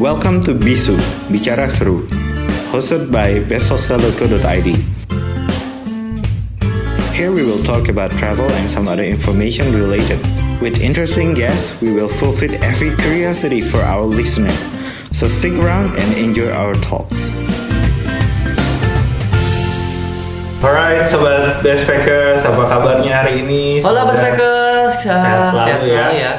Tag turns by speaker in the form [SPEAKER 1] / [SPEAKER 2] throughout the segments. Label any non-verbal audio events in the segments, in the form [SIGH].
[SPEAKER 1] Welcome to Bisu, Bicara Seru, hosted by bestsocialloco.id. Here we will talk about travel and some other information related. With interesting guests, we will fulfill every curiosity for our listener. So stick around and enjoy our talks. Alright, sobat Backpackers, apa kabarnya hari ini?
[SPEAKER 2] Hola Mas
[SPEAKER 1] Semoga-
[SPEAKER 2] Pekes,
[SPEAKER 1] Sehat selalu ya.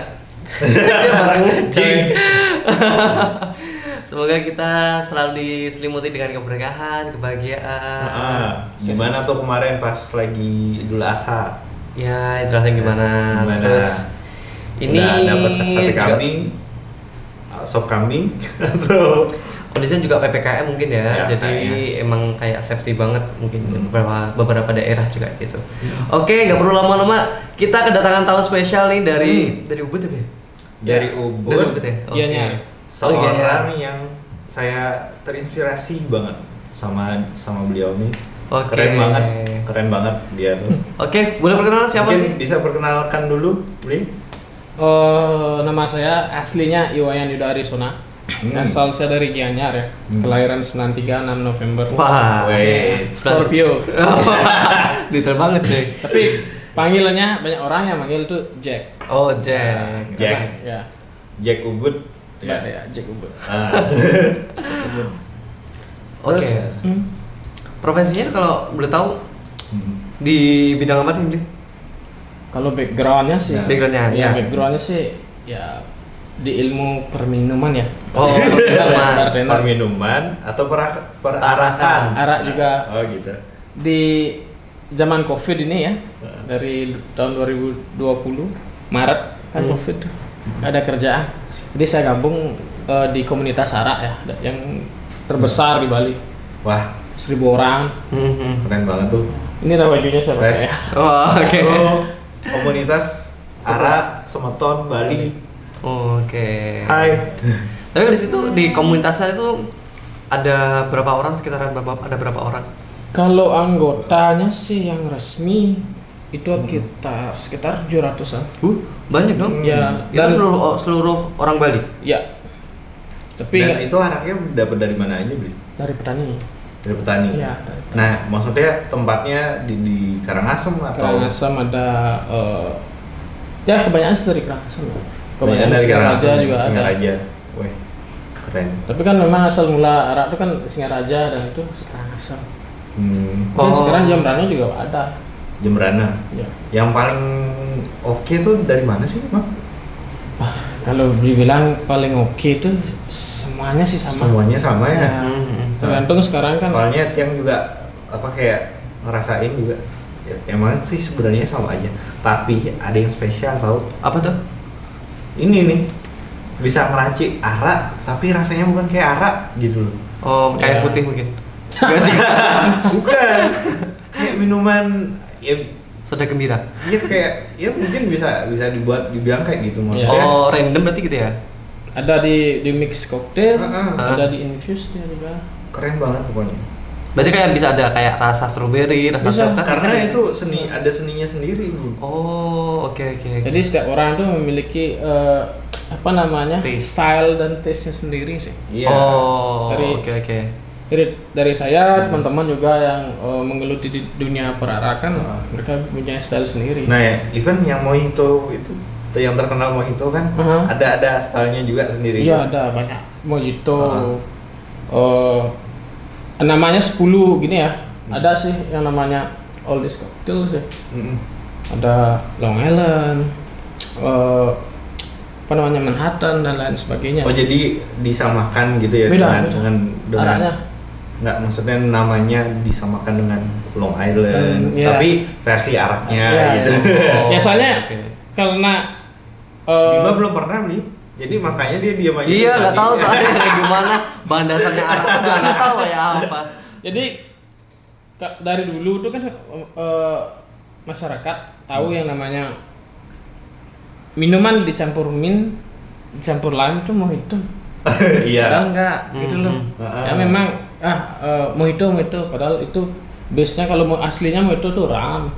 [SPEAKER 1] [LAUGHS]
[SPEAKER 2] Dia bareng
[SPEAKER 1] Jinx.
[SPEAKER 2] Jinx. [LAUGHS] Semoga kita selalu diselimuti dengan keberkahan, kebahagiaan.
[SPEAKER 1] Ah, gimana tuh kemarin pas lagi Idul Adha?
[SPEAKER 2] Ya, itulah yang gimana.
[SPEAKER 1] Gimana?
[SPEAKER 2] Terus ini
[SPEAKER 1] Udah dapat sate
[SPEAKER 2] juga-
[SPEAKER 1] kambing, uh, sop kambing [LAUGHS] atau
[SPEAKER 2] Kondisinya juga PPKM mungkin ya,
[SPEAKER 1] Ya,
[SPEAKER 2] jadi
[SPEAKER 1] kayaknya.
[SPEAKER 2] emang kayak safety banget mungkin
[SPEAKER 1] Hmm.
[SPEAKER 2] beberapa beberapa daerah juga gitu. Oke, nggak perlu lama-lama, kita kedatangan tamu spesial nih dari
[SPEAKER 1] Hmm.
[SPEAKER 2] dari Ubud ya? Be?
[SPEAKER 1] dari
[SPEAKER 2] Dari Ubud
[SPEAKER 1] Ubud,
[SPEAKER 2] ya? Oke.
[SPEAKER 3] Iya, Nyar.
[SPEAKER 2] Oh, iya, Nyar.
[SPEAKER 1] seorang yang saya terinspirasi banget sama sama beliau nih.
[SPEAKER 2] Oke.
[SPEAKER 1] Keren banget, keren banget dia tuh.
[SPEAKER 2] Oke, boleh perkenalan siapa
[SPEAKER 1] Mungkin
[SPEAKER 2] sih?
[SPEAKER 1] bisa perkenalkan dulu, Bli?
[SPEAKER 3] Eh, nama saya aslinya Iwayan Yuda Arisona.
[SPEAKER 1] Hmm.
[SPEAKER 3] Asal saya dari Gianyar ya.
[SPEAKER 1] Hmm. eh,
[SPEAKER 3] Kelahiran 93 6 November. Eh,
[SPEAKER 2] Wah,
[SPEAKER 1] Weh.
[SPEAKER 3] Scorpio.
[SPEAKER 2] [LAUGHS] detail banget cuy.
[SPEAKER 3] Tapi panggilannya banyak orang yang manggil tuh Jack.
[SPEAKER 2] Oh Jack,
[SPEAKER 1] Eh, Jack.
[SPEAKER 3] Karena- Ya.
[SPEAKER 1] Jack Ubud. Ya.
[SPEAKER 3] Ya. ya, Jack Ubud.
[SPEAKER 1] Ah.
[SPEAKER 2] Oke.
[SPEAKER 3] Terus, hmm,
[SPEAKER 2] Profesinya kalau boleh tahu
[SPEAKER 1] Hmm.
[SPEAKER 2] di bidang apa sih? Bli?
[SPEAKER 3] Kalau backgroundnya sih,
[SPEAKER 1] Ya.
[SPEAKER 2] Backgroundnya. Iya.
[SPEAKER 3] ya backgroundnya sih ya di ilmu perminuman ya.
[SPEAKER 2] Oh, teman.
[SPEAKER 3] Bartender.
[SPEAKER 1] Perminuman atau perah-
[SPEAKER 2] Tarakan.
[SPEAKER 1] perarakan?
[SPEAKER 3] Arak juga
[SPEAKER 1] Oh gitu.
[SPEAKER 3] di zaman covid ini ya dari tahun 2020 Maret kan
[SPEAKER 2] Hmm.
[SPEAKER 3] covid tuh, ada kerjaan jadi saya gabung eh, di komunitas arak ya da- yang terbesar di Bali
[SPEAKER 1] Wah,
[SPEAKER 3] seribu orang
[SPEAKER 2] Mhm.
[SPEAKER 1] keren banget tuh.
[SPEAKER 3] ini dah bajunya saya pakai
[SPEAKER 1] Eh.
[SPEAKER 3] ya
[SPEAKER 2] Oh, oke.
[SPEAKER 1] Halo, komunitas Ara Semeton Bali.
[SPEAKER 2] Oke.
[SPEAKER 1] Hai.
[SPEAKER 2] Tapi di situ di komunitasnya itu ada berapa orang sekitaran berapa ada berapa orang?
[SPEAKER 3] kalau anggotanya sih yang resmi itu
[SPEAKER 1] Hmm.
[SPEAKER 3] kita sekitar 700an
[SPEAKER 2] Uh, banyak dong.
[SPEAKER 3] ya
[SPEAKER 2] Itu
[SPEAKER 3] dan
[SPEAKER 2] seluruh seluruh orang Bali.
[SPEAKER 3] ya tapi
[SPEAKER 1] Dan
[SPEAKER 3] nggak-
[SPEAKER 1] itu anaknya dapat dari mana aja, Bli?
[SPEAKER 3] dari petani
[SPEAKER 1] Dari petani.
[SPEAKER 3] ya dari
[SPEAKER 1] Nah, maksudnya tempatnya di, di Karangasem atau
[SPEAKER 3] Karangasem ada eh, ya kebanyakan sih dari Karangasem ya.
[SPEAKER 1] kebanyakan
[SPEAKER 3] kebanyakan
[SPEAKER 1] dari
[SPEAKER 3] Singaraja
[SPEAKER 1] Karangasem
[SPEAKER 3] juga ada
[SPEAKER 1] Singaraja. Weh, keren.
[SPEAKER 3] tapi kan memang asal mula Arak itu kan Singaraja dan itu Karangasem
[SPEAKER 1] Hmm,
[SPEAKER 3] dan
[SPEAKER 2] Oh.
[SPEAKER 3] Kan sekarang Jamrana juga ada
[SPEAKER 1] Jemberana.
[SPEAKER 3] ya. [LAUGHS]
[SPEAKER 1] Yang paling oke tuh dari mana sih, Bang?
[SPEAKER 3] kalau dibilang paling oke itu semuanya sih sama
[SPEAKER 1] Semuanya sama ya.
[SPEAKER 3] Ya.
[SPEAKER 2] Mhm.
[SPEAKER 3] tergantung sekarang kan
[SPEAKER 1] Soalnya tiang juga apa kayak ngerasain juga ya, emang sih sebenarnya sama aja, tapi ada yang spesial tau.
[SPEAKER 2] Apa tuh?
[SPEAKER 1] ini nih bisa ngeracik arak tapi rasanya bukan kayak arak gitu
[SPEAKER 3] [LAUGHS]
[SPEAKER 1] loh
[SPEAKER 2] Oh, kayak
[SPEAKER 3] Ya.
[SPEAKER 2] putih mungkin. Gak
[SPEAKER 3] [LAUGHS]
[SPEAKER 2] sih.
[SPEAKER 1] bukan kayak minuman ya
[SPEAKER 2] Soda gembira.
[SPEAKER 1] ya kayak ya mungkin bisa bisa dibuat dibilang kayak gitu
[SPEAKER 3] Iya.
[SPEAKER 1] maksudnya
[SPEAKER 2] Oh, random berarti gitu ya?
[SPEAKER 3] ada di di mix cocktail
[SPEAKER 1] Heeh.
[SPEAKER 3] ada di infuse dia juga
[SPEAKER 1] keren banget pokoknya
[SPEAKER 2] Berarti kayak bisa ada kayak rasa strawberry, rasa
[SPEAKER 3] Bisa,
[SPEAKER 2] coklat,
[SPEAKER 1] karena
[SPEAKER 2] gitu?
[SPEAKER 1] itu seni ada seninya sendiri Bu.
[SPEAKER 2] Oh, oke oke. oke.
[SPEAKER 3] jadi setiap orang tuh memiliki eh, apa namanya
[SPEAKER 2] Taste.
[SPEAKER 3] style dan taste nya sendiri sih
[SPEAKER 1] iya
[SPEAKER 2] Oh, oke
[SPEAKER 3] Dari-
[SPEAKER 2] oke.
[SPEAKER 3] Jadi dari saya
[SPEAKER 1] Hmm.
[SPEAKER 3] teman-teman juga yang eh, menggeluti di dunia perarakan
[SPEAKER 1] Ah.
[SPEAKER 3] mereka punya style sendiri.
[SPEAKER 1] nah ya, even yang mojito itu yang terkenal mojito kan
[SPEAKER 3] Aha.
[SPEAKER 1] ada ada stylenya juga sendiri
[SPEAKER 3] Iya ada banyak mojito.
[SPEAKER 1] Ah.
[SPEAKER 3] eh, namanya 10 gini ya.
[SPEAKER 1] Hmm.
[SPEAKER 3] Ada sih yang namanya all this cocktail sih.
[SPEAKER 1] Mm-mm.
[SPEAKER 3] Ada Long Island. eh, apa namanya Manhattan dan lain sebagainya.
[SPEAKER 1] oh jadi disamakan gitu ya
[SPEAKER 3] Iya. Beda,
[SPEAKER 1] dengan
[SPEAKER 3] beda.
[SPEAKER 1] dengan dengan
[SPEAKER 3] Arahnya
[SPEAKER 1] nggak maksudnya namanya disamakan dengan Long Island
[SPEAKER 3] Hmm, iya.
[SPEAKER 1] tapi versi araknya
[SPEAKER 3] Iya, [LAUGHS]
[SPEAKER 1] gitu [LAUGHS]
[SPEAKER 2] Oh,
[SPEAKER 3] Biasanya
[SPEAKER 2] oke, oke.
[SPEAKER 3] karena
[SPEAKER 1] Bima
[SPEAKER 3] eh,
[SPEAKER 1] belum pernah beli jadi makanya dia diam aja
[SPEAKER 2] Iya, nggak
[SPEAKER 1] tadi.
[SPEAKER 2] tahu soalnya kayak gimana bahan dasarnya Arab tuh juga nggak tahu ya
[SPEAKER 3] [LAUGHS]
[SPEAKER 2] apa.
[SPEAKER 3] Jadi ta- dari dulu tuh kan eh, masyarakat tahu yang namanya minuman dicampur min, dicampur lime tuh mojito.
[SPEAKER 1] [LAUGHS] iya
[SPEAKER 3] Padahal enggak gitu loh.
[SPEAKER 1] Mm-mm.
[SPEAKER 3] Ya memang ah eh, mojito mojito padahal itu biasanya kalau mau aslinya mojito tuh ram.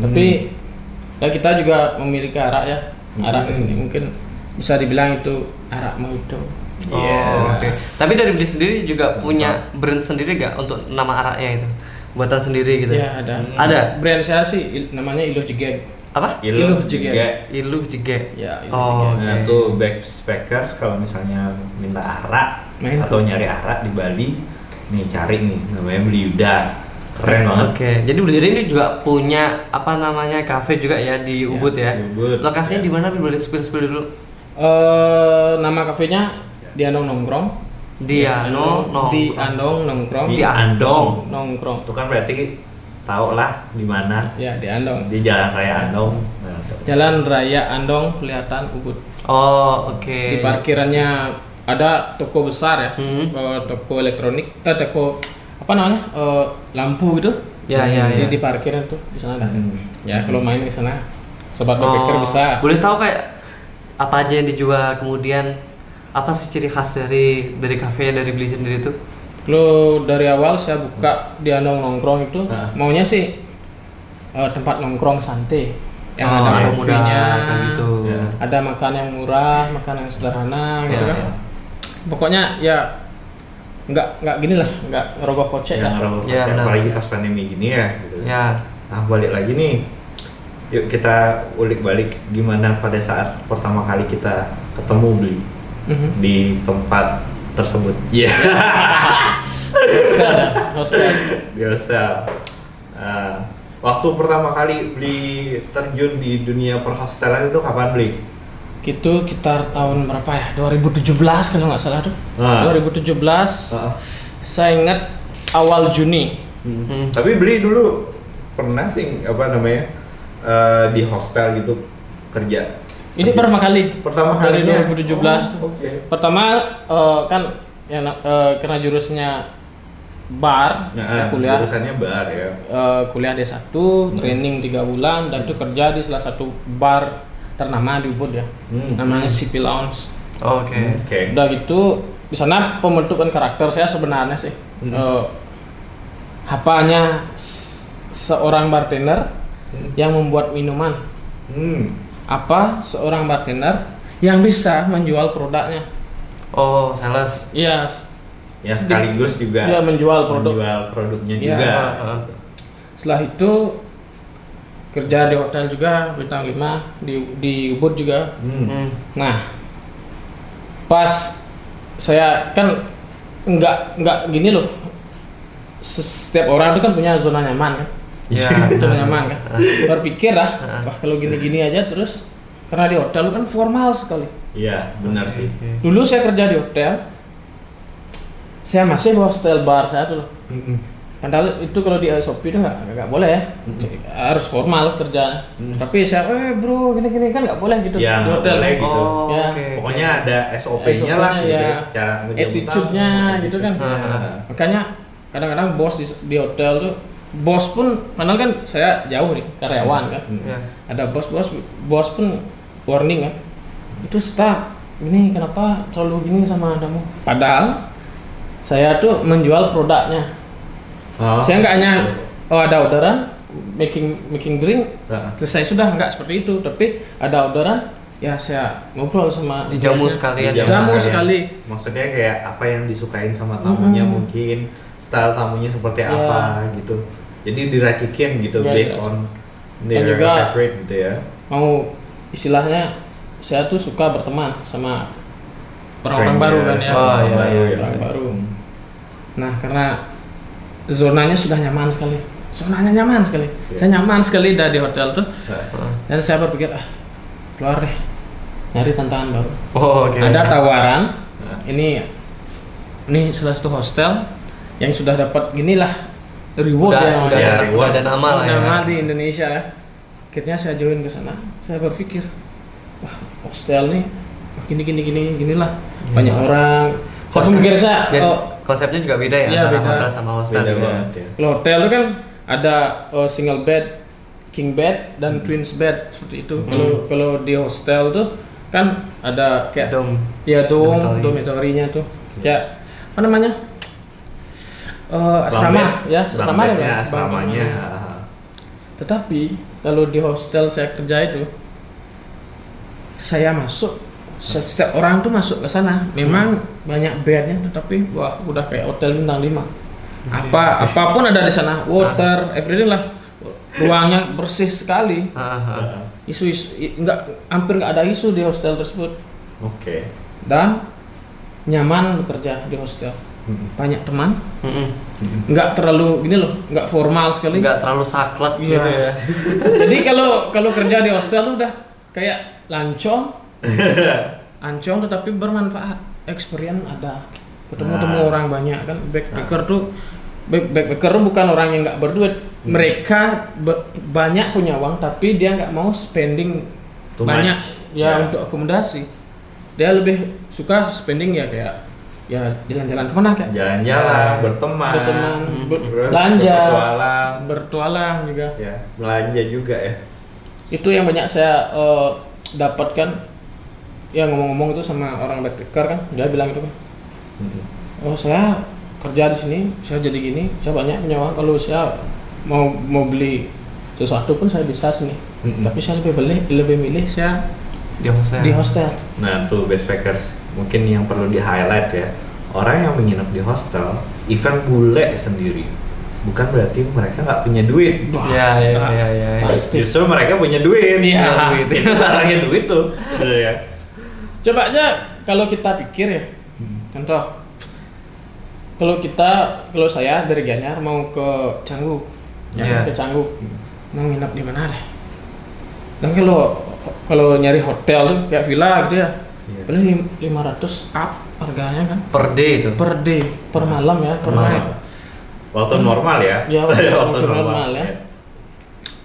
[SPEAKER 3] Tapi
[SPEAKER 1] Mm.
[SPEAKER 3] ya kita juga memiliki arak ya. Arak di sini mungkin bisa dibilang itu arak mojito.
[SPEAKER 2] Oh, oke. Tapi dari diri sendiri juga punya brand sendiri gak untuk nama araknya itu? Buatan sendiri gitu.
[SPEAKER 3] Ya ada.
[SPEAKER 2] Ada?
[SPEAKER 3] Brand saya sih il- namanya Iluh Jegeg.
[SPEAKER 2] Apa? Iya.
[SPEAKER 3] Iluh juga.
[SPEAKER 2] Iluh Jege.
[SPEAKER 3] Ya, Iluh
[SPEAKER 2] oh,
[SPEAKER 4] Nah,
[SPEAKER 2] oke.
[SPEAKER 4] tuh backpackers kalau misalnya minta arak
[SPEAKER 3] Main
[SPEAKER 4] atau nyari arak di Bali, nih cari nih namanya Beliuda. Keren banget.
[SPEAKER 2] Oke, jadi Blueberry ini juga punya apa namanya cafe juga ya
[SPEAKER 3] Iya,
[SPEAKER 2] di Ubud ya.
[SPEAKER 4] di Ubud.
[SPEAKER 2] Lokasinya
[SPEAKER 4] Ya.
[SPEAKER 2] di mana? Boleh spill-spill dulu.
[SPEAKER 3] Eh nama kafenya Diandong Nongkrong. Iya,
[SPEAKER 2] Diano Nongkrong.
[SPEAKER 3] Diandong Nongkrong.
[SPEAKER 2] Oh, Di Andong.
[SPEAKER 3] Nongkrong.
[SPEAKER 4] Itu kan berarti tau lah di mana
[SPEAKER 3] Ya Diandong.
[SPEAKER 4] di
[SPEAKER 2] Ya.
[SPEAKER 4] Jalan Raya Andong. Nah, tuh.
[SPEAKER 3] Jalan Raya Andong Kelihatan Ubud.
[SPEAKER 2] Oh, oke.
[SPEAKER 3] Di parkirannya ada toko besar ya,
[SPEAKER 2] Hmm.
[SPEAKER 3] Eh, toko elektronik, eh, toko apa namanya Eh, lampu gitu.
[SPEAKER 2] Ya, ya, ya.
[SPEAKER 3] Di- Di parkiran tuh di sana ada.
[SPEAKER 4] Hmm.
[SPEAKER 3] Ya kalau main di sana, sobat backpacker
[SPEAKER 2] Oh,
[SPEAKER 3] bisa.
[SPEAKER 2] Boleh tahu kayak apa aja yang dijual kemudian apa sih ciri khas dari dari kafe dari beli sendiri itu?
[SPEAKER 3] Lo dari awal saya buka di Andong Nongkrong itu
[SPEAKER 4] Nah.
[SPEAKER 3] maunya sih eh, tempat nongkrong santai yang
[SPEAKER 2] Oh,
[SPEAKER 3] ada kan. Iya.
[SPEAKER 2] yang mudah,
[SPEAKER 3] kopinya,
[SPEAKER 2] kayak gitu. Ya.
[SPEAKER 3] ada makan yang murah, makan yang sederhana gitu
[SPEAKER 2] Ya,
[SPEAKER 3] kan.
[SPEAKER 2] ya.
[SPEAKER 3] Pokoknya ya nggak nggak gini lah, nggak rogoh kocek
[SPEAKER 4] Yang
[SPEAKER 3] lah.
[SPEAKER 4] orang
[SPEAKER 2] Ya, benar.
[SPEAKER 4] apalagi pas pandemi gini ya. Gitu.
[SPEAKER 2] Ya.
[SPEAKER 4] Nah, balik lagi nih. Yuk kita ulik balik gimana pada saat pertama kali kita ketemu beli
[SPEAKER 2] Hmm?
[SPEAKER 3] Mhm.
[SPEAKER 4] di tempat tersebut. Iya.
[SPEAKER 2] Ya.
[SPEAKER 3] Hostel, ya, hostel.
[SPEAKER 4] biasa Nah, waktu pertama kali beli terjun di dunia perhostelan itu kapan beli?
[SPEAKER 3] Gitu kita tahun berapa ya? 2017 kalau nggak salah tuh.
[SPEAKER 4] Ah.
[SPEAKER 3] 2017. Saya ingat awal Juni.
[SPEAKER 4] Hmm.
[SPEAKER 2] Hmm.
[SPEAKER 4] Tapi beli dulu pernah sih apa namanya eh, di hostel gitu kerja.
[SPEAKER 3] Ini pertama kali.
[SPEAKER 4] Pertama
[SPEAKER 3] dari
[SPEAKER 4] kalinya?
[SPEAKER 3] 2017 tuh.
[SPEAKER 4] Oh, oke.
[SPEAKER 3] Pertama eh, kan ya, na- eh, karena jurusnya bar, saya
[SPEAKER 4] Nah,
[SPEAKER 3] kuliah
[SPEAKER 4] Urusannya bar ya.
[SPEAKER 3] eh, kuliah D1,
[SPEAKER 4] Hmm.
[SPEAKER 3] training 3 bulan dan itu kerja di salah satu bar ternama di Ubud ya.
[SPEAKER 4] Hmm.
[SPEAKER 3] Namanya CP Lounge.
[SPEAKER 2] Oke.
[SPEAKER 3] Hmm.
[SPEAKER 4] Oke.
[SPEAKER 3] Udah gitu di sana pembentukan karakter saya sebenarnya sih.
[SPEAKER 4] Hmm.
[SPEAKER 3] Eh, apanya s- seorang bartender yang membuat minuman
[SPEAKER 4] Hmm.
[SPEAKER 3] apa seorang bartender yang bisa menjual produknya.
[SPEAKER 2] Oh, sales.
[SPEAKER 3] Iya,
[SPEAKER 4] Ya sekaligus juga
[SPEAKER 3] dia iya, menjual produk.
[SPEAKER 4] menjual produknya
[SPEAKER 3] Iya.
[SPEAKER 4] juga.
[SPEAKER 2] Heeh.
[SPEAKER 3] Setelah itu kerja di hotel juga bintang 5 di di Ubud juga.
[SPEAKER 4] Hmm.
[SPEAKER 2] Hmm.
[SPEAKER 3] Nah, pas saya kan nggak nggak gini loh. Setiap orang itu kan punya zona nyaman kan.
[SPEAKER 2] Ya.
[SPEAKER 3] Zona nyaman kan. Berpikir lah, wah kalau gini-gini aja terus karena di hotel kan formal sekali.
[SPEAKER 4] Iya, benar sih.
[SPEAKER 3] Dulu saya kerja di hotel. Saya masih bawa style bar saya dulu.
[SPEAKER 4] Mm-mm.
[SPEAKER 3] Padahal itu kalau di Shopee itu nggak nggak boleh ya, harus formal kerja. Tapi saya, eh bro, gini-gini kan nggak boleh gitu
[SPEAKER 4] Ya,
[SPEAKER 3] di
[SPEAKER 4] nggak
[SPEAKER 3] hotel.
[SPEAKER 4] boleh
[SPEAKER 2] Oh,
[SPEAKER 4] gitu.
[SPEAKER 2] oke.
[SPEAKER 3] Ya.
[SPEAKER 2] oke.
[SPEAKER 4] Pokoknya ada SOP-nya lah
[SPEAKER 3] SOP-nya,
[SPEAKER 4] gitu,
[SPEAKER 3] ya.
[SPEAKER 4] cara ngejemput
[SPEAKER 3] Attitude-nya
[SPEAKER 4] tamu,
[SPEAKER 3] gitu
[SPEAKER 4] attitude.
[SPEAKER 3] kan.
[SPEAKER 4] Nah,
[SPEAKER 3] Makanya kadang-kadang bos di, di hotel tuh, bos pun, padahal kan saya jauh nih karyawan kan,
[SPEAKER 4] Hmm.
[SPEAKER 2] Ya.
[SPEAKER 3] ada bos-bos, bos pun warning kan, itu staff ini kenapa terlalu gini sama kamu? Padahal saya tuh menjual produknya.
[SPEAKER 4] Oh.
[SPEAKER 3] Saya nggak hanya oh ada orderan making making drink
[SPEAKER 4] Nah,
[SPEAKER 3] selesai sudah nggak seperti itu tapi ada orderan ya saya ngobrol sama
[SPEAKER 2] Dijamu
[SPEAKER 3] biasanya.
[SPEAKER 2] sekalian.
[SPEAKER 4] dijamu
[SPEAKER 3] Jamu
[SPEAKER 4] sekalian.
[SPEAKER 3] sekali.
[SPEAKER 4] Iya, Maksudnya kayak apa yang disukain sama tamunya
[SPEAKER 3] Mm-mm.
[SPEAKER 4] mungkin, style tamunya seperti
[SPEAKER 3] Ya.
[SPEAKER 4] apa gitu. Jadi diracikin gitu
[SPEAKER 3] Ya,
[SPEAKER 4] based
[SPEAKER 3] diracikin.
[SPEAKER 4] on their
[SPEAKER 3] juga
[SPEAKER 4] favorite gitu ya.
[SPEAKER 3] mau istilahnya saya tuh suka berteman sama orang-orang baru kan ya
[SPEAKER 4] Strangers,
[SPEAKER 2] Oh,
[SPEAKER 4] orang
[SPEAKER 2] iya,
[SPEAKER 4] baru
[SPEAKER 2] iya,
[SPEAKER 4] ya.
[SPEAKER 3] orang baru nah karena zonanya sudah nyaman sekali zonanya nyaman sekali
[SPEAKER 4] Ya.
[SPEAKER 3] saya nyaman sekali dari hotel tuh
[SPEAKER 4] Nah,
[SPEAKER 2] Heeh.
[SPEAKER 3] dan saya berpikir ah keluar deh nyari tantangan baru
[SPEAKER 2] Oh, oke.
[SPEAKER 3] ada tawaran
[SPEAKER 4] Nah.
[SPEAKER 2] Iya.
[SPEAKER 3] ini ini salah satu hostel yang sudah dapat ginilah reward
[SPEAKER 2] udah, udah,
[SPEAKER 3] ya
[SPEAKER 4] Ya,
[SPEAKER 3] namanya.
[SPEAKER 2] ada- udah
[SPEAKER 4] reward.
[SPEAKER 2] ada nama lah ya.
[SPEAKER 3] Udah mahal di Indonesia ya. akhirnya saya join ke sana saya berpikir wah hostel nih wah, gini gini gini ginilah
[SPEAKER 2] Iya.
[SPEAKER 3] banyak orang tapi
[SPEAKER 2] Konsep-
[SPEAKER 3] mikir saya
[SPEAKER 2] dan
[SPEAKER 3] oh,
[SPEAKER 2] konsepnya juga beda ya,
[SPEAKER 3] Iya,
[SPEAKER 2] antara
[SPEAKER 3] beda.
[SPEAKER 2] hotel sama hostel gitu.
[SPEAKER 4] beda
[SPEAKER 2] juga.
[SPEAKER 4] banget ya.
[SPEAKER 3] kalau hotel itu kan ada eh, single bed king bed dan
[SPEAKER 2] Hmm.
[SPEAKER 3] twins bed seperti itu kalau kalau di hostel tuh kan ada kayak
[SPEAKER 2] Dom.
[SPEAKER 3] Iya dong,
[SPEAKER 2] Dormitory.
[SPEAKER 3] dormitorinya tuh. Ya, apa namanya? Eh, asrama,
[SPEAKER 4] Bang bed-
[SPEAKER 3] ya,
[SPEAKER 4] bang
[SPEAKER 3] asrama Iya. ya,
[SPEAKER 4] bednya,
[SPEAKER 3] Bang?
[SPEAKER 4] asramanya.
[SPEAKER 3] Bang- Tetapi kalau di hostel saya kerja itu, saya masuk, setiap setiap orang tuh masuk ke sana memang banyak bandnya tetapi wah udah kayak hotel bintang 5 apa apapun ada di sana water everything lah ruangnya bersih sekali
[SPEAKER 2] Hahaha.
[SPEAKER 3] isu-isu i- nggak hampir nggak ada isu di hostel tersebut
[SPEAKER 4] Oke.
[SPEAKER 3] dan nyaman bekerja di hostel banyak teman
[SPEAKER 2] Mm-mm.
[SPEAKER 3] nggak terlalu gini loh nggak formal sekali
[SPEAKER 2] nggak terlalu saklek
[SPEAKER 3] Iya.
[SPEAKER 2] gitu ya
[SPEAKER 3] Jadi kalau kalau kerja di hostel tuh udah kayak lancong, lancong tetapi bermanfaat. Experience ada, ketemu-temu
[SPEAKER 4] Nah.
[SPEAKER 3] orang banyak kan. Backpacker tuh back- backpacker tuh bukan orang yang nggak berduit.
[SPEAKER 4] Hmm.
[SPEAKER 3] Mereka be- banyak punya uang tapi dia nggak mau spending
[SPEAKER 4] Too
[SPEAKER 3] banyak
[SPEAKER 4] much.
[SPEAKER 3] ya
[SPEAKER 4] Ya.
[SPEAKER 3] untuk akomodasi. Dia lebih suka spending ya kayak ya jalan-jalan kemana kayak
[SPEAKER 4] Jalan-jalan, berteman, hmm.
[SPEAKER 3] berteman, ber-
[SPEAKER 4] terus
[SPEAKER 3] belanja,
[SPEAKER 4] berpetualang,
[SPEAKER 3] bertualang juga.
[SPEAKER 4] ya belanja juga ya.
[SPEAKER 3] itu yang banyak saya eh, dapatkan ya ngomong-ngomong itu sama orang backpacker kan dia bilang gitu kan
[SPEAKER 4] Hmm.
[SPEAKER 3] oh saya kerja di sini saya jadi gini saya banyak punya uang kalau saya mau mau beli sesuatu pun saya bisa sini
[SPEAKER 4] Mm-mm.
[SPEAKER 3] tapi saya lebih beli lebih milih saya
[SPEAKER 2] di hostel
[SPEAKER 3] di hostel
[SPEAKER 4] Nah tuh backpackers mungkin yang perlu di highlight ya orang yang menginap di hostel event bule sendiri bukan berarti mereka nggak punya duit
[SPEAKER 2] ya ya
[SPEAKER 3] Ah.
[SPEAKER 2] ya ya, ya.
[SPEAKER 3] Pasti.
[SPEAKER 4] justru mereka punya duit
[SPEAKER 3] Iya.
[SPEAKER 4] Punya duit. [LAUGHS] itu sarangnya duit tuh bener ya
[SPEAKER 3] coba aja kalau kita pikir ya contoh kalau kita kalau saya dari Gianyar mau ke Canggu
[SPEAKER 2] Iya.
[SPEAKER 3] ke Canggu mau nginep di mana deh dan kalau kalau nyari hotel tuh kayak villa gitu ya
[SPEAKER 4] Yes.
[SPEAKER 3] paling lima ratus up harganya kan
[SPEAKER 2] per day itu
[SPEAKER 3] per day per malam ya per
[SPEAKER 2] Malam.
[SPEAKER 3] malam
[SPEAKER 4] waktu normal ya
[SPEAKER 3] Iya, waktu-
[SPEAKER 4] [LAUGHS]
[SPEAKER 3] waktu normal ya.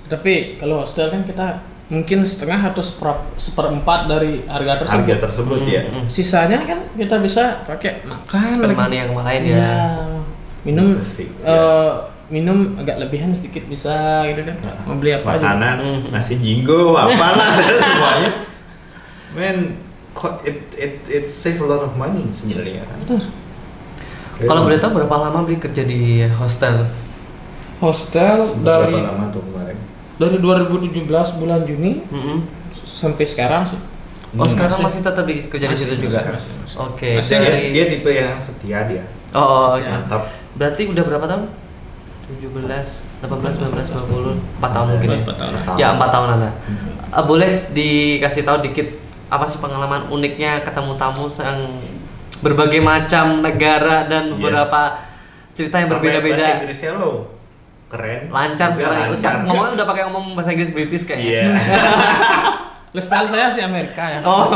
[SPEAKER 3] tapi kalau hostel kan kita mungkin setengah atau seper- seperempat dari harga tersebut
[SPEAKER 4] harga tersebut ya
[SPEAKER 3] sisanya kan kita bisa pakai makan
[SPEAKER 2] spend
[SPEAKER 3] lagi.
[SPEAKER 2] money yang lain ya
[SPEAKER 3] Ah,
[SPEAKER 2] iya.
[SPEAKER 3] Iya. minum
[SPEAKER 4] Itu sih,
[SPEAKER 3] eh, minum agak lebihan sedikit bisa gitu kan mau beli apa aja.
[SPEAKER 4] makanan
[SPEAKER 2] Hmm.
[SPEAKER 4] nasi
[SPEAKER 3] [LAUGHS]
[SPEAKER 4] jinggo apalah [LAUGHS] semuanya men kok it it it save a lot of money sebenarnya
[SPEAKER 3] Terus,
[SPEAKER 2] kalau boleh tahu berapa lama beli kerja di hostel
[SPEAKER 3] hostel
[SPEAKER 4] dari
[SPEAKER 3] dari
[SPEAKER 4] lama tuh kemarin
[SPEAKER 3] dari 2017 bulan Juni
[SPEAKER 2] Mm-mm.
[SPEAKER 3] s- sampai sekarang sih
[SPEAKER 2] Oh
[SPEAKER 4] Hmm.
[SPEAKER 2] sekarang
[SPEAKER 3] Hmm, Masih.
[SPEAKER 2] masih tetap di, kerja di
[SPEAKER 3] Masih,
[SPEAKER 2] situ
[SPEAKER 3] masih,
[SPEAKER 2] juga.
[SPEAKER 3] masih, masih.
[SPEAKER 2] Oke.
[SPEAKER 3] Masih, ya? [LAUGHS]
[SPEAKER 4] Dia,
[SPEAKER 2] dari-
[SPEAKER 4] dia tipe yang setia dia.
[SPEAKER 2] Oh, oh, oke.
[SPEAKER 4] Mantap.
[SPEAKER 2] Berarti udah berapa tahun? 17, 18, 19, 20, 4 tahun mungkin ya?
[SPEAKER 3] Empat tahun.
[SPEAKER 2] Ya 4 tahunan lah. Eh, boleh dikasih tahu dikit apa sih pengalaman uniknya ketemu tamu yang berbagai macam negara dan
[SPEAKER 4] Yes.
[SPEAKER 2] beberapa cerita yang
[SPEAKER 4] Sampai Bahasa
[SPEAKER 2] berbeda-beda.
[SPEAKER 4] Inggrisnya lo keren.
[SPEAKER 2] Lancar
[SPEAKER 4] Bahasa
[SPEAKER 2] sekarang
[SPEAKER 4] lancar.
[SPEAKER 2] udah ngomongnya udah gitu. pakai ngomong bahasa Inggris British [LAUGHS]
[SPEAKER 4] Iya.
[SPEAKER 2] kayaknya.
[SPEAKER 3] lestari saya sih Amerika ya
[SPEAKER 2] [LAUGHS] Oh.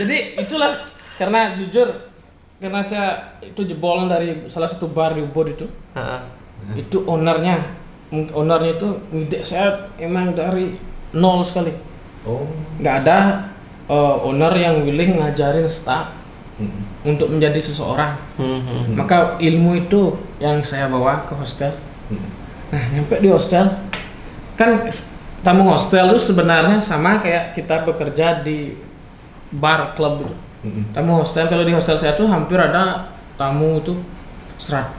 [SPEAKER 3] jadi itulah karena jujur karena saya itu jebolan dari salah satu bar di Ubud itu
[SPEAKER 2] Heeh. Hmm.
[SPEAKER 3] itu ownernya M- ownernya itu ngide saya emang dari nol sekali
[SPEAKER 4] Oh.
[SPEAKER 3] nggak ada eh, owner yang willing ngajarin staff
[SPEAKER 4] Hmm.
[SPEAKER 3] untuk menjadi seseorang
[SPEAKER 2] Hmm, hmm.
[SPEAKER 3] maka ilmu itu yang saya bawa ke hostel nah nyampe di hostel kan s- tamu hostel itu sebenarnya sama kayak kita bekerja di bar club gitu.
[SPEAKER 4] Hmm.
[SPEAKER 3] tamu hostel kalau di hostel saya tuh hampir ada tamu tuh 110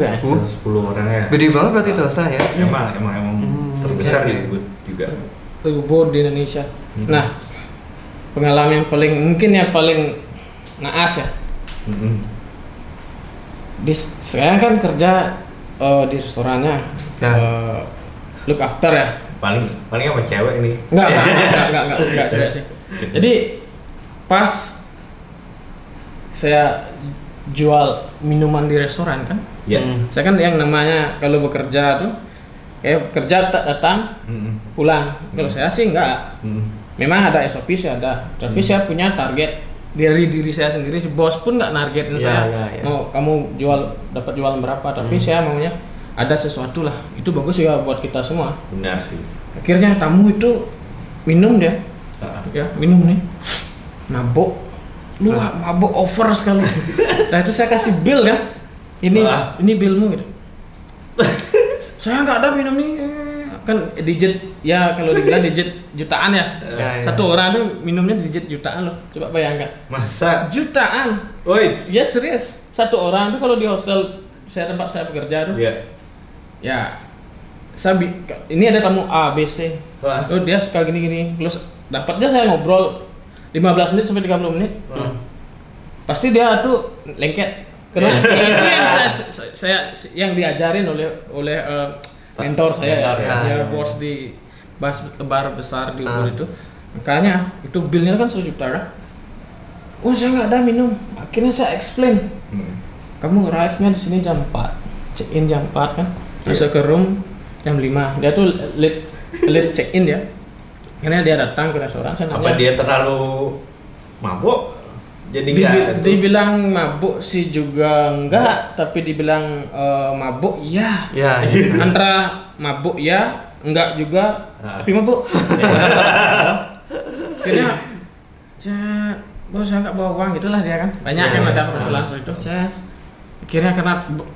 [SPEAKER 3] kayaknya
[SPEAKER 4] Sepuluh orang ya.
[SPEAKER 2] Gede banget berarti itu hostel ya.
[SPEAKER 3] Iya.
[SPEAKER 4] Emang emang emang
[SPEAKER 2] Hmm. Iya.
[SPEAKER 4] terbesar di Ubud juga.
[SPEAKER 3] Ubud di Indonesia. Nah, pengalaman yang paling mungkin yang paling naas ya.
[SPEAKER 4] Mm-mm.
[SPEAKER 3] Di, saya kan kerja eh, di restorannya,
[SPEAKER 2] Ya.
[SPEAKER 3] Eh, look after ya.
[SPEAKER 4] Paling paling sama cewek nih.
[SPEAKER 3] Enggak, enggak, enggak, enggak, enggak, enggak juga sih. Jadi pas saya jual minuman di restoran kan,
[SPEAKER 4] Ya.
[SPEAKER 2] Hmm.
[SPEAKER 3] saya kan yang namanya kalau bekerja tuh kayak kerja tak datang
[SPEAKER 2] Hmm.
[SPEAKER 4] Mm-mm.
[SPEAKER 3] pulang. Kalau saya sih enggak,
[SPEAKER 4] Mm-mm.
[SPEAKER 3] Memang ada SOP sih ada, tapi
[SPEAKER 2] Hmm.
[SPEAKER 3] saya punya target dari diri saya sendiri. Si bos pun nggak nargetin
[SPEAKER 2] Iya,
[SPEAKER 3] saya.
[SPEAKER 2] iya, Hmm. iya.
[SPEAKER 3] Mau kamu jual dapat jualan berapa, tapi saya maunya ada sesuatu lah. Itu bagus ya buat kita semua.
[SPEAKER 4] Benar sih.
[SPEAKER 3] Akhirnya tamu itu minum dia,
[SPEAKER 4] Ah.
[SPEAKER 3] ya minum nih, mabok, lu ah, mabok over
[SPEAKER 2] [LAUGHS]
[SPEAKER 3] sekali. nah itu saya kasih bill kan, ini
[SPEAKER 4] Ah.
[SPEAKER 3] ini billmu gitu. saya nggak ada minum nih, Eh, kan digit ya kalau dibilang digit jutaan ya.
[SPEAKER 2] Ya, ya.
[SPEAKER 3] Satu orang tuh minumnya digit jutaan loh. Coba bayangkan.
[SPEAKER 4] Masa.
[SPEAKER 3] Jutaan.
[SPEAKER 4] Woi.
[SPEAKER 3] Ya serius. Satu orang tuh kalau di hostel saya tempat saya bekerja tuh.
[SPEAKER 4] Ya.
[SPEAKER 3] Ya. Saya bi- ini ada tamu A, B, C.
[SPEAKER 4] Wah.
[SPEAKER 3] Oh, Tuh dia suka gini-gini. Terus dapatnya saya ngobrol 15 menit sampai 30 menit
[SPEAKER 2] Hmm.
[SPEAKER 3] pasti dia tuh lengket karena itu yang saya, saya- saya yang diajarin oleh oleh eh, mentor saya
[SPEAKER 4] Mentor,
[SPEAKER 3] ya,
[SPEAKER 2] ya.
[SPEAKER 3] ya bos di bas bar besar di
[SPEAKER 2] Ah.
[SPEAKER 3] umur itu makanya itu billnya kan 1 juta dah oh saya nggak ada minum akhirnya saya explain
[SPEAKER 4] Hmm.
[SPEAKER 3] kamu arrive nya di sini jam 4 check in jam 4 kan
[SPEAKER 4] Iya.
[SPEAKER 3] masuk ke room jam 5 dia tuh late late check in ya karena dia datang ke restoran saya
[SPEAKER 4] Apa dia terlalu mabuk? Jadi
[SPEAKER 3] Dibi-
[SPEAKER 4] nggak
[SPEAKER 3] dibilang mabuk sih juga enggak, tapi dibilang eh, mabuk ya.
[SPEAKER 2] [LAUGHS] Ya,
[SPEAKER 3] Antara mabuk ya, enggak juga,
[SPEAKER 4] Ah.
[SPEAKER 3] tapi mabuk. Akhirnya saya bos saya enggak bawa uang gitulah dia kan. Banyak
[SPEAKER 2] Ya,
[SPEAKER 3] yang
[SPEAKER 2] ya.
[SPEAKER 3] ada permasalahan seperti itu. Saya akhirnya karena bu-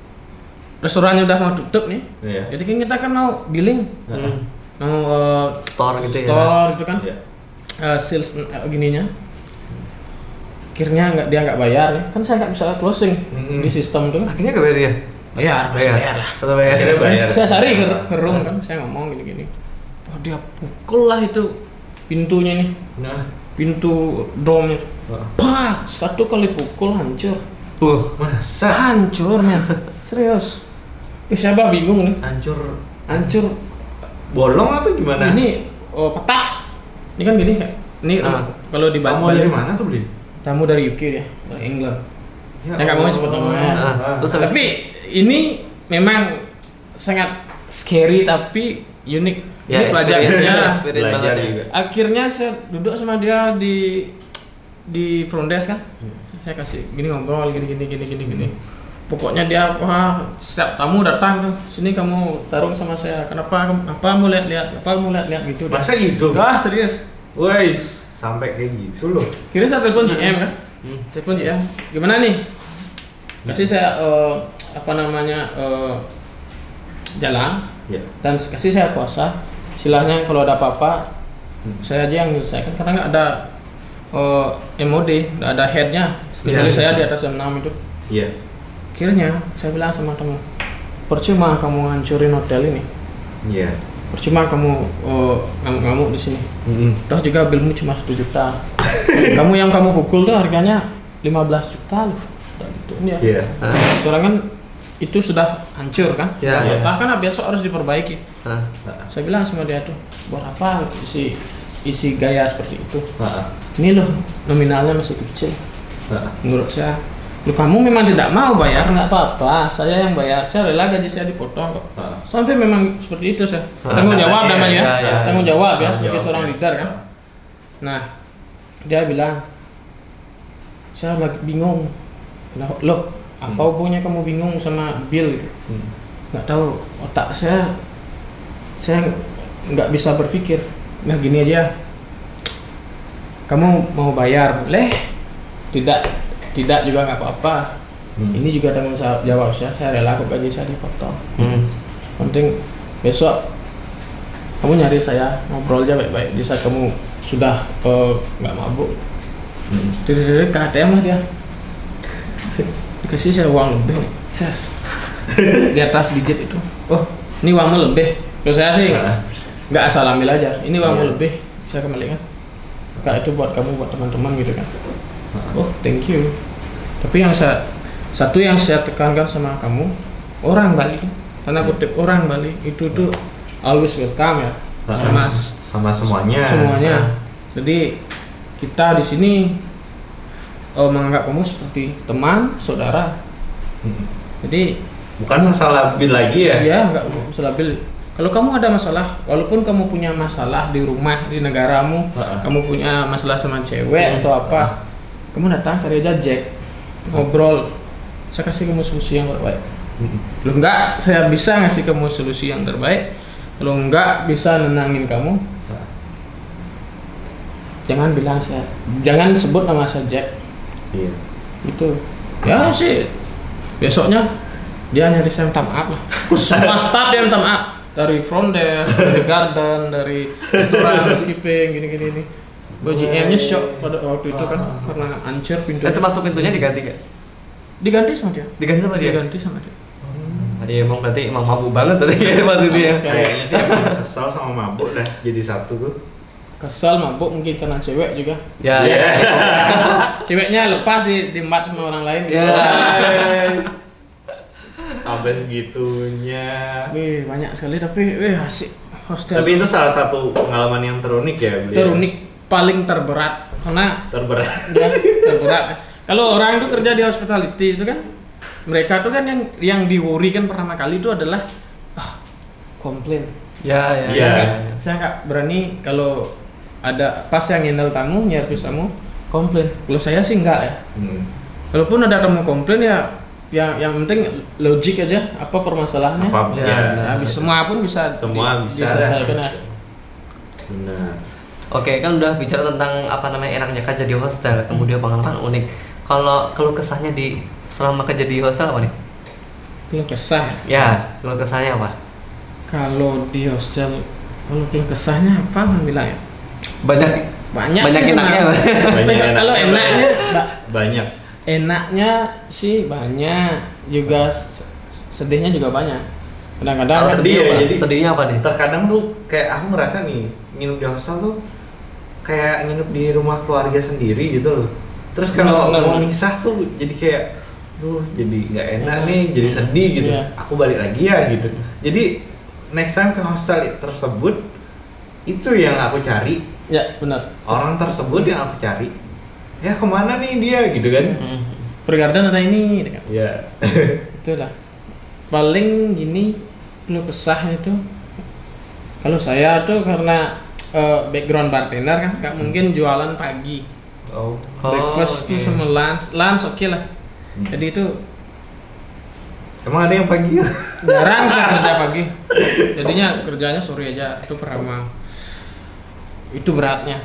[SPEAKER 3] restorannya udah mau tutup nih.
[SPEAKER 4] Iya.
[SPEAKER 3] Jadi kan kita kan mau billing,
[SPEAKER 2] Hmm.
[SPEAKER 3] mau eh,
[SPEAKER 2] Store gitu ya.
[SPEAKER 3] store gitu kan
[SPEAKER 4] Iya.
[SPEAKER 3] eh sales eh, gininya akhirnya nggak dia nggak bayar ya. kan saya nggak bisa closing
[SPEAKER 4] Mm-mm.
[SPEAKER 3] di sistem itu kan.
[SPEAKER 2] Akhirnya gak bayar dia?
[SPEAKER 3] bayar pasti bayar lah
[SPEAKER 2] Tetap bayar.
[SPEAKER 4] Akhirnya bayar.
[SPEAKER 3] saya sari ke, ke room kan saya ngomong gini gini oh dia pukul lah itu pintunya nih
[SPEAKER 4] Nah.
[SPEAKER 3] pintu domnya
[SPEAKER 4] Wah.
[SPEAKER 3] pak satu kali pukul hancur
[SPEAKER 2] Uh,
[SPEAKER 4] Masa
[SPEAKER 3] hancur men serius Ih, saya bah bingung nih
[SPEAKER 4] hancur
[SPEAKER 3] hancur
[SPEAKER 4] bolong atau gimana?
[SPEAKER 3] ini oh, petah ini kan gini kayak ini
[SPEAKER 2] Ah.
[SPEAKER 3] kalau di
[SPEAKER 4] kamu dari mana tuh beli?
[SPEAKER 3] tamu dari UK dia dari England Ya, nggak mau
[SPEAKER 4] Allah.
[SPEAKER 3] sebut namanya.
[SPEAKER 2] Nah,
[SPEAKER 4] ah. Oh,
[SPEAKER 2] terus habis-
[SPEAKER 3] tapi ini memang sangat scary tapi unik
[SPEAKER 2] Ya,
[SPEAKER 3] ini pelajarannya
[SPEAKER 2] experience-nya. Spirit
[SPEAKER 4] belajar gitu.
[SPEAKER 2] banget ya.
[SPEAKER 4] juga.
[SPEAKER 3] akhirnya saya duduk sama dia di di front desk kan saya kasih gini ngobrol gini gini gini gini gini pokoknya dia wah setiap tamu datang tuh sini kamu tarung sama saya kenapa apa mau lihat lihat apa mau lihat lihat gitu
[SPEAKER 4] Masa gitu?
[SPEAKER 3] wah serius
[SPEAKER 4] Wes, sampai kayak gitu loh.
[SPEAKER 3] Kira saya telepon GM kan? Telepon GM. Gimana nih? Kasih saya eh, apa namanya eh, jalan
[SPEAKER 4] Ya.
[SPEAKER 3] dan kasih saya kuasa. Silahnya kalau ada apa-apa
[SPEAKER 4] Hmm.
[SPEAKER 3] saya aja yang menyelesaikan karena nggak ada eh, MOD, nggak ada headnya. Kecuali
[SPEAKER 4] Iya.
[SPEAKER 3] saya di atas jam 6 itu.
[SPEAKER 4] Iya.
[SPEAKER 3] Akhirnya saya bilang sama kamu, percuma kamu hancurin hotel ini,
[SPEAKER 4] Iya.
[SPEAKER 3] percuma kamu eh, ngamuk-ngamuk di sini.
[SPEAKER 4] Mm-mm.
[SPEAKER 3] Toh juga bilmu cuma 1
[SPEAKER 4] [LAUGHS]
[SPEAKER 3] juta. kamu yang kamu pukul tuh harganya 15 juta loh. Dan Itu dia.
[SPEAKER 4] Iya.
[SPEAKER 2] Ah,
[SPEAKER 3] Seorang kan itu sudah hancur kan?
[SPEAKER 2] Iya.
[SPEAKER 3] Sudah patah kan besok harus diperbaiki.
[SPEAKER 2] ah.
[SPEAKER 3] Saya bilang sama dia tuh, buat apa isi isi gaya seperti itu?
[SPEAKER 4] Ah,
[SPEAKER 3] Ini loh nominalnya masih kecil
[SPEAKER 4] ah, ah.
[SPEAKER 3] menurut saya. Lu kamu memang tidak mau bayar nggak apa-apa, saya yang bayar. Saya rela gaji saya dipotong kok.
[SPEAKER 4] Ah.
[SPEAKER 3] Sampai memang seperti itu saya.
[SPEAKER 2] Ah,
[SPEAKER 3] Tanggung jawab
[SPEAKER 2] iya,
[SPEAKER 3] namanya.
[SPEAKER 2] iya, iya.
[SPEAKER 3] Tanggung jawab ya
[SPEAKER 4] Tanggung
[SPEAKER 3] sebagai
[SPEAKER 4] jawab,
[SPEAKER 3] seorang
[SPEAKER 4] ya.
[SPEAKER 3] leader kan. Nah, dia bilang, saya lagi bingung. Kenapa? Loh, apa
[SPEAKER 4] Hmm.
[SPEAKER 3] hubungannya kamu bingung sama Bill?
[SPEAKER 4] Hmm.
[SPEAKER 3] Nggak tahu, otak saya, saya nggak bisa berpikir. Nah, gini aja. Kamu mau bayar, boleh. Tidak, tidak juga nggak apa-apa.
[SPEAKER 4] Hmm.
[SPEAKER 3] Ini juga tanggung sa- jawab saya, saya rela kok gaji saya dipotong.
[SPEAKER 4] Mm.
[SPEAKER 2] Hmm.
[SPEAKER 3] Penting besok kamu nyari saya ngobrol aja baik-baik di saat kamu sudah eh, nggak mabuk
[SPEAKER 4] Hmm.
[SPEAKER 3] dari ke ATM lah dia ya. dikasih saya uang lebih nih. ses [LAUGHS] di atas digit itu oh ini uangmu lebih terus saya sih
[SPEAKER 4] Ah,
[SPEAKER 3] nggak asal ambil aja ini uangmu
[SPEAKER 4] Nah. Iya.
[SPEAKER 3] lebih saya kembalikan kak itu buat kamu buat teman-teman gitu kan oh thank you tapi yang saya satu yang saya tekankan sama kamu orang Bali karena kutip orang Bali itu tuh always welcome ya
[SPEAKER 4] Ah,
[SPEAKER 3] sama
[SPEAKER 4] sama semuanya. Ah.
[SPEAKER 3] semuanya. Jadi kita di sini eh, menganggap kamu seperti teman, saudara.
[SPEAKER 4] Hmm.
[SPEAKER 3] Jadi
[SPEAKER 4] Bukan masalah bil lagi ya?
[SPEAKER 3] ya nggak masalah bil. Kalau kamu ada masalah, walaupun kamu punya masalah di rumah di negaramu,
[SPEAKER 4] Ha-ha.
[SPEAKER 3] kamu punya masalah sama cewek atau apa, kamu datang cari aja Jack ngobrol. Saya kasih kamu solusi yang terbaik.
[SPEAKER 4] Hmm.
[SPEAKER 3] Kalau enggak, saya bisa ngasih kamu solusi yang terbaik. Kalau enggak bisa nenangin kamu,
[SPEAKER 4] Ah.
[SPEAKER 3] jangan bilang saya, jangan sebut nama saya Jack.
[SPEAKER 4] Iya.
[SPEAKER 3] gitu ya sih besoknya dia nyari saya minta maaf
[SPEAKER 4] [LAUGHS]
[SPEAKER 3] lah semua staff dia minta maaf dari front desk dari garden dari restoran housekeeping gini gini ini gue GM
[SPEAKER 4] iya,
[SPEAKER 3] nya shock pada waktu itu kan
[SPEAKER 4] Ah.
[SPEAKER 3] karena hancur pintu
[SPEAKER 4] Eh,
[SPEAKER 2] Itu masuk pintunya diganti gak?
[SPEAKER 3] diganti sama dia
[SPEAKER 2] Diganti sama dia?
[SPEAKER 3] diganti sama dia
[SPEAKER 2] Iya emang berarti [LAUGHS]
[SPEAKER 4] Iya.
[SPEAKER 2] emang mabuk banget tadi ya maksudnya
[SPEAKER 3] Sama sekali.
[SPEAKER 4] Kayaknya sih emang kesel sama mabuk dah jadi satu tuh.
[SPEAKER 3] kesel mabuk mungkin karena cewek juga
[SPEAKER 2] Ya.
[SPEAKER 4] Iya.
[SPEAKER 3] ceweknya lepas di di mat sama orang lain
[SPEAKER 4] Iya.
[SPEAKER 3] gitu.
[SPEAKER 4] Yes. Sampai segitunya.
[SPEAKER 3] Wih, banyak sekali tapi wih asik hostel
[SPEAKER 4] Tapi itu salah satu pengalaman yang terunik ya beliau.
[SPEAKER 3] terunik paling terberat karena
[SPEAKER 4] Terberat.
[SPEAKER 3] ya, terberat kalau orang itu kerja di hospitality itu kan mereka tuh kan yang yang di worry kan pertama kali itu adalah ah, komplain
[SPEAKER 2] Ya, ya.
[SPEAKER 4] Iya.
[SPEAKER 3] saya nggak berani kalau ada pas yang handle tamu nyervis tamu komplain kalau saya sih nggak ya
[SPEAKER 4] Hmm.
[SPEAKER 3] walaupun ada tamu komplain ya yang yang penting logik aja apa permasalahannya Nah,
[SPEAKER 4] Apa
[SPEAKER 2] Ya,
[SPEAKER 4] ya.
[SPEAKER 2] benar.
[SPEAKER 3] habis semua pun bisa di-
[SPEAKER 4] Semua bisa.
[SPEAKER 3] diselesaikan ya.
[SPEAKER 4] Benar.
[SPEAKER 2] Oke, kan udah bicara tentang apa namanya enaknya kerja di hostel, kemudian pengalaman unik. Kalau keluh kesahnya di selama kerja di hostel apa nih?
[SPEAKER 3] belum kesah
[SPEAKER 2] Ya, keluh kesahnya apa?
[SPEAKER 3] kalau di hostel kalau belum kesahnya apa Bang bilang ya
[SPEAKER 2] Banyak
[SPEAKER 3] banyak
[SPEAKER 2] Banyak
[SPEAKER 3] sih
[SPEAKER 2] enaknya,
[SPEAKER 3] sebenarnya.
[SPEAKER 4] Bang. Banyak
[SPEAKER 3] Tapi kalau
[SPEAKER 4] enaknya, Bang.
[SPEAKER 3] enaknya enggak.
[SPEAKER 4] Banyak.
[SPEAKER 3] enaknya sih banyak juga se- sedihnya juga banyak kadang-kadang
[SPEAKER 2] Oh,
[SPEAKER 4] Kalau sedih ya,
[SPEAKER 2] apa?
[SPEAKER 4] jadi-
[SPEAKER 2] sedihnya apa nih?
[SPEAKER 4] Terkadang tuh kayak aku ngerasa nih nginep di hostel tuh kayak nginep di rumah keluarga sendiri gitu loh. Terus kalau
[SPEAKER 3] Hmm, Benar, benar.
[SPEAKER 4] mau misah tuh jadi kayak duh jadi nggak enak
[SPEAKER 3] Iya.
[SPEAKER 4] nih, jadi sedih gitu.
[SPEAKER 3] Iya.
[SPEAKER 4] Aku balik lagi ya gitu. Jadi next time ke hostel tersebut itu yang aku cari
[SPEAKER 3] ya benar
[SPEAKER 4] orang tersebut yang aku cari ya kemana nih dia gitu kan
[SPEAKER 2] Hmm.
[SPEAKER 3] Pergarden ada ini dekat.
[SPEAKER 4] ya
[SPEAKER 3] itulah paling gini lu kesahnya itu kalau saya tuh karena eh, background bartender kan nggak mungkin jualan pagi
[SPEAKER 4] oh
[SPEAKER 2] Oh,
[SPEAKER 3] breakfast tuh
[SPEAKER 2] oke.
[SPEAKER 3] sama lunch lunch oke lah jadi itu
[SPEAKER 4] emang ada yang pagi ya
[SPEAKER 3] jarang saya kerja pagi jadinya kerjanya sore aja itu pertama itu beratnya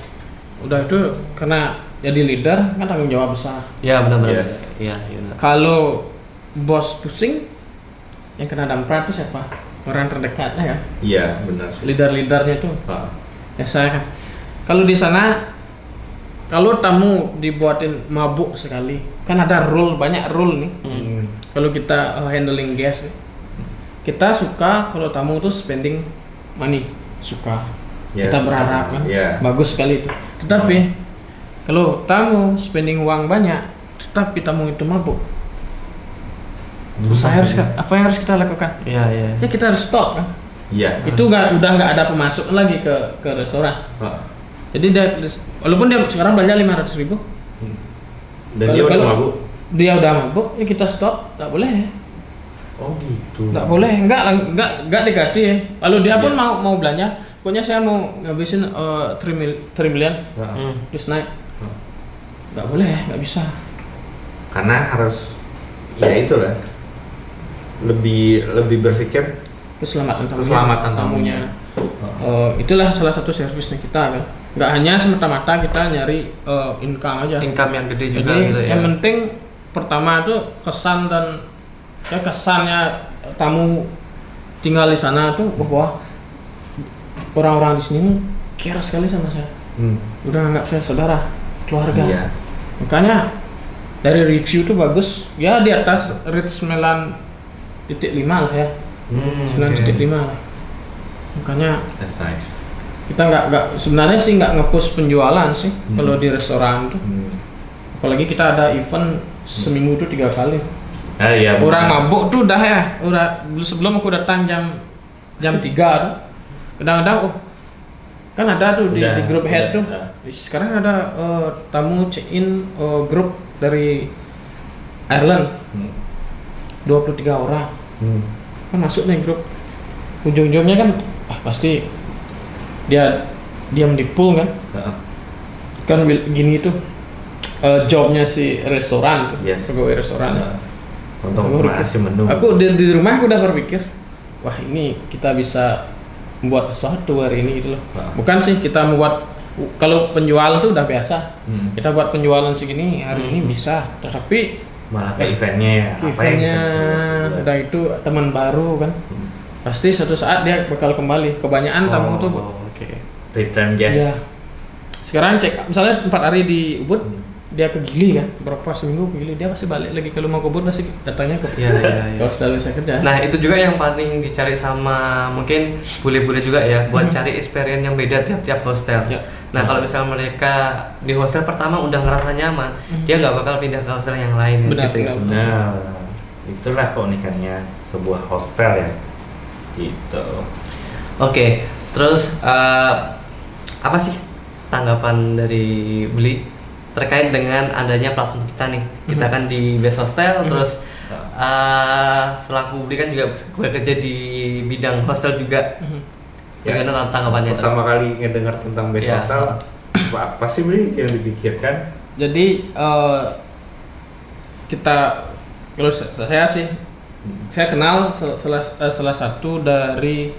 [SPEAKER 3] udah itu karena jadi leader kan tanggung jawab besar
[SPEAKER 2] Ya, benar-benar.
[SPEAKER 4] Yes.
[SPEAKER 2] Iya, iya. benar.
[SPEAKER 3] kalau bos pusing yang kena dampak itu siapa orang terdekatnya kan
[SPEAKER 4] iya benar sih
[SPEAKER 3] leader-leadernya tuh
[SPEAKER 4] Ah,
[SPEAKER 3] ya saya kan kalau di sana kalau tamu dibuatin mabuk sekali kan ada rule banyak rule nih
[SPEAKER 4] hmm.
[SPEAKER 3] kalau kita uh, handling guest nih kita suka kalau tamu tuh spending money suka
[SPEAKER 4] Ya,
[SPEAKER 3] kita
[SPEAKER 4] suka.
[SPEAKER 3] berharap kan
[SPEAKER 4] Ya. Hmm.
[SPEAKER 3] bagus sekali itu tetapi kalau tamu spending uang banyak tetapi tamu itu mabuk saya harus apa yang harus kita lakukan
[SPEAKER 2] Iya, iya.
[SPEAKER 3] ya kita harus stop kan
[SPEAKER 4] iya
[SPEAKER 3] itu nggak udah nggak ada pemasok lagi ke ke restoran
[SPEAKER 4] Ah.
[SPEAKER 3] jadi dia walaupun dia sekarang belanja 500 ribu
[SPEAKER 4] dan
[SPEAKER 3] Kalau-
[SPEAKER 4] dia udah
[SPEAKER 3] kalau-
[SPEAKER 4] mabuk
[SPEAKER 3] dia udah mabuk ya kita stop nggak boleh
[SPEAKER 4] oh gitu
[SPEAKER 3] nggak boleh nggak lang- nggak nggak dikasih ya lalu dia pun
[SPEAKER 4] Iya.
[SPEAKER 3] mau mau belanja pokoknya saya mau ngabisin eh, 3, mil, 3 million
[SPEAKER 4] Ah.
[SPEAKER 2] Hmm.
[SPEAKER 3] this night
[SPEAKER 4] Hmm.
[SPEAKER 3] nggak boleh nggak bisa
[SPEAKER 4] karena harus ya itulah lebih lebih berpikir
[SPEAKER 3] keselamatan tamunya
[SPEAKER 4] Keselamatan tamunya.
[SPEAKER 3] Eh, itulah salah satu servisnya kita kan nggak hanya semata-mata kita nyari eh, income aja
[SPEAKER 2] Income yang gede juga
[SPEAKER 3] Jadi
[SPEAKER 2] gitu ya.
[SPEAKER 3] yang penting pertama itu kesan dan ya kesannya tamu tinggal di sana tuh bahwa orang-orang di sini care sekali sama saya.
[SPEAKER 4] hmm.
[SPEAKER 3] Udah nggak saya saudara, keluarga.
[SPEAKER 4] iya
[SPEAKER 3] Makanya dari review tuh bagus. Ya di atas rate 9.5 lah ya.
[SPEAKER 4] hmm.
[SPEAKER 3] 9.5 lah. Makanya
[SPEAKER 4] that's nice
[SPEAKER 3] kita nggak nggak sebenarnya sih nggak nge-push penjualan sih kalau di restoran tuh.
[SPEAKER 4] hmm.
[SPEAKER 3] Apalagi kita ada event seminggu tuh tiga kali.
[SPEAKER 4] ah iya
[SPEAKER 3] Orang
[SPEAKER 4] benar.
[SPEAKER 3] mabuk tuh dah ya. Udah sebelum aku datang jam jam 3 tuh. Kadang-kadang oh kan ada tuh di,
[SPEAKER 4] Udah,
[SPEAKER 3] di grup head
[SPEAKER 4] udah,
[SPEAKER 3] tuh.
[SPEAKER 4] udah.
[SPEAKER 3] Ih, Sekarang ada eh, tamu check in eh, grup dari Ireland
[SPEAKER 4] Hmm.
[SPEAKER 3] 23 orang.
[SPEAKER 4] Hmm.
[SPEAKER 3] Kan masuk nih grup. Ujung-ujungnya kan ah, pasti dia diam di pool kan.
[SPEAKER 4] Ah.
[SPEAKER 3] Kan bil- gini tuh eh, jobnya si restoran tuh,
[SPEAKER 4] Yes.
[SPEAKER 3] pegawai restoran.
[SPEAKER 4] Ah. untuk
[SPEAKER 3] Aku berpikir-
[SPEAKER 4] masih mendung
[SPEAKER 3] Aku di, di rumah aku udah berpikir, wah ini kita bisa membuat sesuatu hari ini gitu loh.
[SPEAKER 4] Ah.
[SPEAKER 3] Bukan sih kita membuat kalau penjualan tuh udah biasa.
[SPEAKER 4] Hmm.
[SPEAKER 3] Kita buat penjualan segini hari ini bisa. Tetapi
[SPEAKER 4] malah ke eventnya ya apa yang
[SPEAKER 3] eventnya
[SPEAKER 4] kita bisa
[SPEAKER 3] udah
[SPEAKER 4] buat.
[SPEAKER 3] itu teman baru kan.
[SPEAKER 4] Hmm.
[SPEAKER 3] Pasti suatu saat dia bakal kembali. Kebanyakan tamu tuh
[SPEAKER 2] Oh, oke.
[SPEAKER 4] return
[SPEAKER 3] Iya.
[SPEAKER 4] guest
[SPEAKER 3] Sekarang cek misalnya empat hari di Ubud,
[SPEAKER 4] Hmm.
[SPEAKER 3] dia ke Gili kan berapa seminggu ke Gili dia pasti balik lagi ke rumah kubur pasti datangnya ke
[SPEAKER 2] Iya, iya, iya.
[SPEAKER 3] ke hostel bisa kerja
[SPEAKER 2] Nah itu juga yang paling dicari sama mungkin bule-bule juga ya buat cari experience yang beda tiap-tiap hostel.
[SPEAKER 3] Mhm. Ya.
[SPEAKER 2] Nah kalau misalnya mereka di hostel pertama udah ngerasa nyaman, dia nggak bakal pindah ke hostel yang lain
[SPEAKER 3] Mhm. Benar,
[SPEAKER 2] gitu ya.
[SPEAKER 3] benar.
[SPEAKER 4] Nah, itulah keunikannya sebuah hostel ya. Gitu.
[SPEAKER 2] Oke, terus eh, apa sih tanggapan dari beli terkait dengan adanya platform kita nih? Kita
[SPEAKER 3] Mhm.
[SPEAKER 2] kan di base hostel, terus
[SPEAKER 3] Ya.
[SPEAKER 2] eh, selaku beli kan juga bekerja di bidang hostel juga.
[SPEAKER 3] Mhm.
[SPEAKER 4] Ya.
[SPEAKER 2] Bagaimana tanggapannya? Ter?
[SPEAKER 4] Pertama kali ngedengar tentang base
[SPEAKER 2] Iya.
[SPEAKER 4] hostel, apa, apa sih beli yang dipikirkan?
[SPEAKER 3] jadi eh, kita kalau sa- saya sih saya kenal sel- salah eh, salah satu dari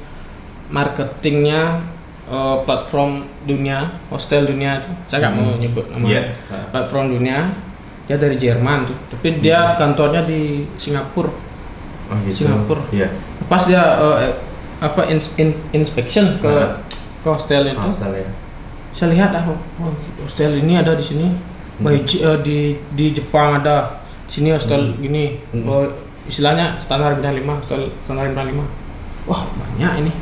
[SPEAKER 3] marketingnya eh, platform dunia hostel dunia itu saya nggak mau nyebut namanya
[SPEAKER 4] Iya. Nah.
[SPEAKER 3] platform dunia dia dari Jerman tuh tapi
[SPEAKER 4] Hmm.
[SPEAKER 3] dia kantornya di Singapura
[SPEAKER 4] Oh,
[SPEAKER 3] Singapura.
[SPEAKER 4] Iya.
[SPEAKER 3] pas dia eh, eh, apa ins- in- inspection ke
[SPEAKER 4] Nah.
[SPEAKER 3] ke hostel itu
[SPEAKER 4] Hostel ya.
[SPEAKER 3] saya lihat ah wah, hostel ini ada di sini
[SPEAKER 4] Hmm.
[SPEAKER 3] Wah, J- eh, di di Jepang ada Di sini hostel gini
[SPEAKER 4] Hmm.
[SPEAKER 3] Oh, istilahnya standar bintang 5 hostel standar bintang 5 wah banyak ini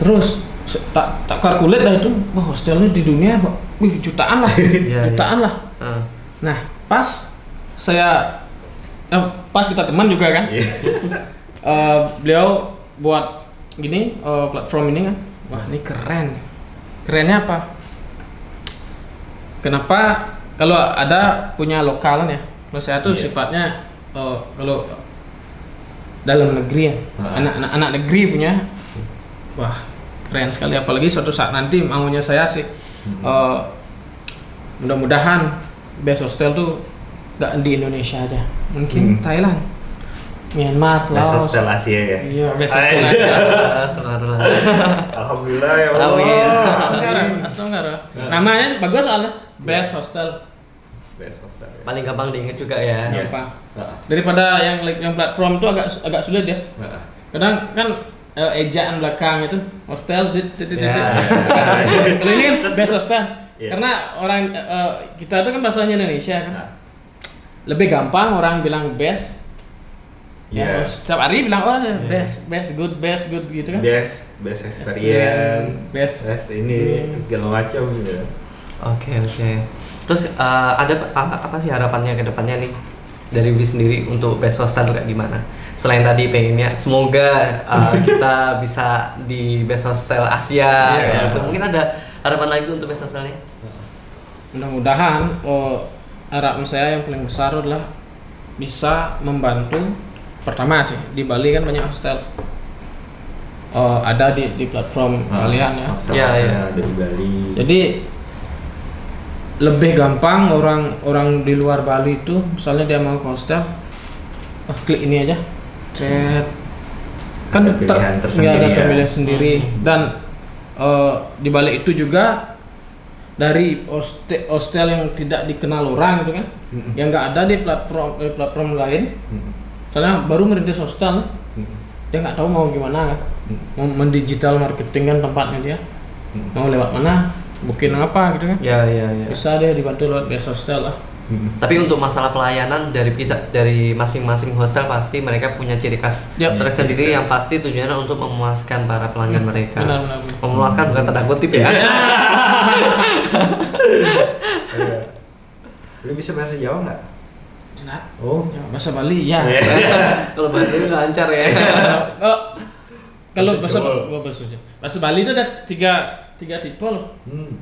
[SPEAKER 3] terus se- tak tak kalkulat lah itu wah hostelnya di dunia wih jutaan
[SPEAKER 4] [LAUGHS]
[SPEAKER 3] lah
[SPEAKER 4] Ya,
[SPEAKER 2] Iya,
[SPEAKER 3] jutaan lah
[SPEAKER 2] Eh,
[SPEAKER 3] nah pas saya eh, pas kita teman juga kan
[SPEAKER 4] Iya.
[SPEAKER 3] [LAUGHS] Eh, beliau buat gini eh, platform ini kan wah ini keren kerennya apa kenapa kalau ada punya lokalan ya kalau saya tuh
[SPEAKER 4] Iya.
[SPEAKER 3] sifatnya eh, kalau dalam negeri ya
[SPEAKER 4] Ah.
[SPEAKER 3] anak-anak anak negeri punya wah keren sekali apalagi suatu saat nanti maunya saya sih
[SPEAKER 4] Hmm.
[SPEAKER 3] eh, mudah-mudahan best hostel tuh gak di Indonesia aja mungkin
[SPEAKER 4] Hmm.
[SPEAKER 3] Thailand Myanmar
[SPEAKER 4] Base
[SPEAKER 3] Laos
[SPEAKER 4] hostel Asia ya.
[SPEAKER 3] Iya, best hostel [LAUGHS]
[SPEAKER 4] Ayo. [LAUGHS]
[SPEAKER 3] Asia.
[SPEAKER 2] eh, saudara.
[SPEAKER 4] Alhamdulillah ya Allah.
[SPEAKER 2] Amin.
[SPEAKER 3] Astongkara, Astongkara. Namanya bagus soalnya best
[SPEAKER 4] Iya.
[SPEAKER 3] hostel.
[SPEAKER 4] Base hostel. Ya.
[SPEAKER 2] [LAUGHS] Paling gampang diinget juga ya.
[SPEAKER 4] Iya.
[SPEAKER 3] Apa?
[SPEAKER 4] Nah,
[SPEAKER 3] Daripada yang yang platform tuh agak agak sulit ya.
[SPEAKER 4] nah.
[SPEAKER 3] Kadang kan eh, ejaan belakang itu hostel dit, dit, dit, dit.
[SPEAKER 2] Ya.
[SPEAKER 3] Kalau ini
[SPEAKER 4] [LAUGHS]
[SPEAKER 3] kan best hostel.
[SPEAKER 4] Iya.
[SPEAKER 3] Karena orang eh, eh, kita itu kan bahasanya Indonesia kan.
[SPEAKER 4] Nah.
[SPEAKER 3] Lebih gampang orang bilang best.
[SPEAKER 4] Iya.
[SPEAKER 3] Ya, setiap hari bilang oh best, best, good, best, good gitu kan.
[SPEAKER 4] Best, best experience,
[SPEAKER 3] Best. Hmm.
[SPEAKER 4] best ini segala macam gitu.
[SPEAKER 2] Oke oke. Terus eh, ada apa, apa sih harapannya ke depannya nih dari diri sendiri untuk best hostel kayak gimana? Selain tadi pengennya semoga eh, kita bisa di best hostel Asia
[SPEAKER 3] Iya.
[SPEAKER 2] kayak gitu. Mungkin ada harapan lagi untuk best hostelnya?
[SPEAKER 3] mudah-mudahan oh, harapan saya yang paling besar adalah bisa membantu pertama sih di Bali kan banyak hostel Oh, ada di di platform kalian ya
[SPEAKER 2] Iya,
[SPEAKER 4] Iya,
[SPEAKER 2] iya.
[SPEAKER 4] iya. Dari Bali.
[SPEAKER 3] jadi lebih gampang orang orang di luar Bali itu misalnya dia mau ke hostel ah, klik ini aja chat kan
[SPEAKER 4] Ada
[SPEAKER 3] ter-
[SPEAKER 4] pilihan tersendiri
[SPEAKER 3] nggak ada
[SPEAKER 4] ya.
[SPEAKER 3] pemilihan sendiri dan eh, di balik itu juga dari hoste- hostel yang tidak dikenal orang gitu kan
[SPEAKER 4] Mm-mm.
[SPEAKER 3] yang nggak ada di platform eh, platform lain
[SPEAKER 4] Mm,
[SPEAKER 3] karena baru merintis hostel
[SPEAKER 4] mm,
[SPEAKER 3] dia nggak tahu mau gimana kan
[SPEAKER 4] mm,
[SPEAKER 3] mau mendigital marketing kan tempatnya dia
[SPEAKER 4] Mm.
[SPEAKER 3] mau lewat mana booking apa gitu kan
[SPEAKER 2] Ya ya ya.
[SPEAKER 3] bisa deh dibantu lewat media sosial lah
[SPEAKER 4] mm.
[SPEAKER 2] Tapi untuk masalah pelayanan dari kita dari masing-masing hostel pasti mereka punya ciri khas
[SPEAKER 3] Yap.
[SPEAKER 2] tersendiri yang pasti tujuannya untuk memuaskan para pelanggan mereka.
[SPEAKER 3] benar benar benar.
[SPEAKER 2] Memuaskan bukan tanda kutip
[SPEAKER 3] [LAUGHS]
[SPEAKER 2] ya.
[SPEAKER 4] Iya. Lu bisa bahasa Jawa nggak?
[SPEAKER 3] Jenak.
[SPEAKER 4] Oh.
[SPEAKER 3] Ya, bahasa Bali ya
[SPEAKER 4] Iya.
[SPEAKER 2] Kalau bahasa ini lancar ya.
[SPEAKER 3] [LAUGHS] Oh, kalau bahasa
[SPEAKER 4] Bahasa Jawa.
[SPEAKER 3] oh, bahasa Jawa. bahasa Bali itu ada tiga tiga tipe loh
[SPEAKER 4] Hmm.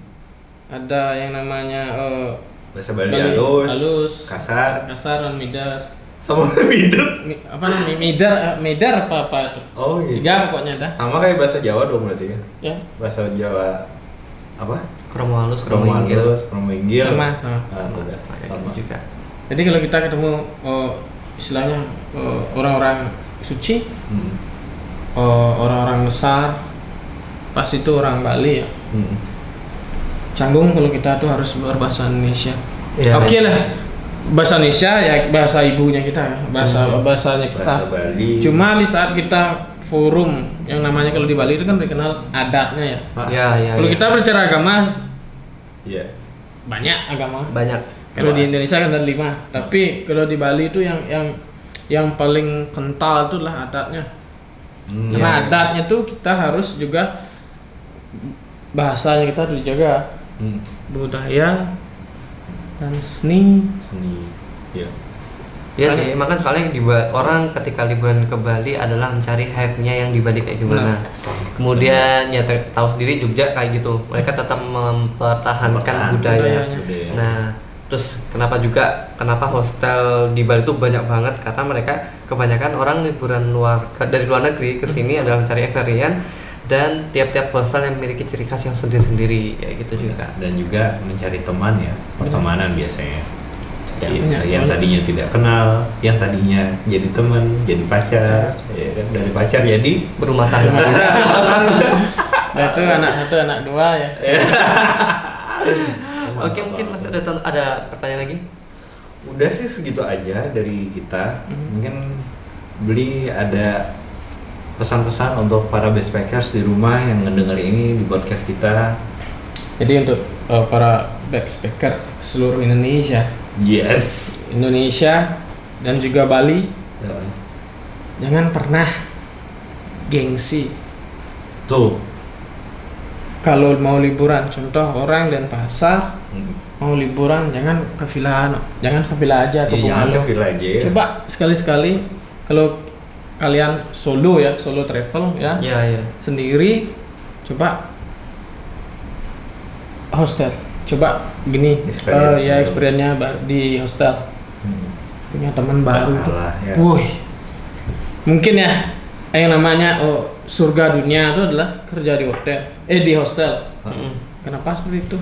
[SPEAKER 3] ada yang namanya eh,
[SPEAKER 4] Bahasa Bali, halus,
[SPEAKER 3] halus,
[SPEAKER 4] kasar,
[SPEAKER 3] kasar dan midar
[SPEAKER 4] sama [LAUGHS] middle.
[SPEAKER 3] Mi- apa namanya midar eh, midar apa apa itu
[SPEAKER 4] Oh iya.
[SPEAKER 3] tiga pokoknya ada
[SPEAKER 4] Sama kayak bahasa Jawa dong berarti ya.
[SPEAKER 3] ya
[SPEAKER 4] Bahasa Jawa apa?
[SPEAKER 2] Kromo halus, kromo
[SPEAKER 4] Kromo
[SPEAKER 2] inggil.
[SPEAKER 4] halus, kromo inggil.
[SPEAKER 3] sama sama
[SPEAKER 4] Ah, udah. Sama.
[SPEAKER 2] gitu juga.
[SPEAKER 3] jadi kalau kita ketemu eh, istilahnya eh, orang-orang suci
[SPEAKER 4] Hmm.
[SPEAKER 3] eh, orang-orang besar pas itu orang Bali ya
[SPEAKER 4] Hmm.
[SPEAKER 3] canggung kalau kita tuh harus berbahasa Indonesia.
[SPEAKER 2] Iya.
[SPEAKER 3] Oke lah, bahasa Indonesia ya bahasa ibunya kita, bahasa bahasanya kita.
[SPEAKER 4] Hmm. Bahasa Bali.
[SPEAKER 3] Cuma di saat kita forum yang namanya kalau di Bali itu kan dikenal adatnya ya.
[SPEAKER 4] Ah,
[SPEAKER 2] Ya, ya.
[SPEAKER 3] Kalau
[SPEAKER 2] ya.
[SPEAKER 3] kita berbicara agama
[SPEAKER 4] Iya.
[SPEAKER 3] banyak agama
[SPEAKER 2] banyak
[SPEAKER 3] kalau di
[SPEAKER 4] Luas.
[SPEAKER 3] Indonesia kan ada lima tapi kalau di Bali itu yang yang yang paling kental itu lah adatnya
[SPEAKER 4] Hmm.
[SPEAKER 3] karena adatnya tuh kita harus juga bahasanya kita harus dijaga
[SPEAKER 4] Hmm.
[SPEAKER 3] budaya dan seni
[SPEAKER 4] Seni. Ya.
[SPEAKER 2] Iya sih, emang kan soalnya di Ba- orang ketika liburan ke Bali adalah mencari hype-nya yang di Bali kayak gimana. Kemudian ya ter- tahu sendiri Jogja kayak gitu. Mereka tetap
[SPEAKER 4] Mempertahankan
[SPEAKER 2] mempertahankan budaya.
[SPEAKER 3] budayanya.
[SPEAKER 4] Budaya.
[SPEAKER 2] Nah, terus kenapa juga kenapa hostel di Bali itu banyak banget karena mereka kebanyakan orang liburan luar ke- dari luar negeri ke sini adalah mencari experience dan tiap-tiap hostel yang memiliki ciri khas yang sendiri-sendiri ya
[SPEAKER 4] Oh,
[SPEAKER 2] gitu juga. Iya.
[SPEAKER 4] dan juga mencari teman ya pertemanan biasanya
[SPEAKER 2] Ya,
[SPEAKER 4] Iya,
[SPEAKER 3] banyak
[SPEAKER 4] yang
[SPEAKER 3] banget.
[SPEAKER 4] tadinya tidak kenal yang tadinya jadi teman jadi pacar ya kan? dari pacar jadi
[SPEAKER 2] Berumah
[SPEAKER 3] [LAUGHS]
[SPEAKER 2] tangga.
[SPEAKER 3] nah, itu anak satu anak dua ya
[SPEAKER 2] Oke, mungkin Mas ada ada pertanyaan lagi?
[SPEAKER 4] udah sih segitu aja dari kita mungkin beli ada pesan-pesan untuk para backpackers di rumah yang mendengar ini di podcast kita
[SPEAKER 3] jadi untuk eh, para backpacker seluruh Indonesia
[SPEAKER 4] yes
[SPEAKER 3] Indonesia dan juga Bali
[SPEAKER 4] Ya,
[SPEAKER 3] jangan pernah gengsi
[SPEAKER 4] tuh
[SPEAKER 3] kalau mau liburan contoh orang dan pasar
[SPEAKER 4] Iya,
[SPEAKER 3] mau liburan jangan ke villa no. jangan ke villa aja ke
[SPEAKER 4] jangan ke
[SPEAKER 3] bungalow
[SPEAKER 4] villa aja ya.
[SPEAKER 3] coba sekali sekali kalau kalian solo ya solo travel ya
[SPEAKER 2] Iya, iya.
[SPEAKER 3] sendiri coba hostel coba gini
[SPEAKER 4] Experience
[SPEAKER 3] eh, ya
[SPEAKER 4] dulu.
[SPEAKER 3] experience-nya ba- di hostel
[SPEAKER 4] Hmm.
[SPEAKER 3] punya teman baru tuh.
[SPEAKER 4] Alah, ya.
[SPEAKER 3] Wih. Mungkin ya yang namanya oh, surga dunia itu adalah kerja di hotel, eh di hostel.
[SPEAKER 2] Mm-mm.
[SPEAKER 3] Kenapa seperti itu?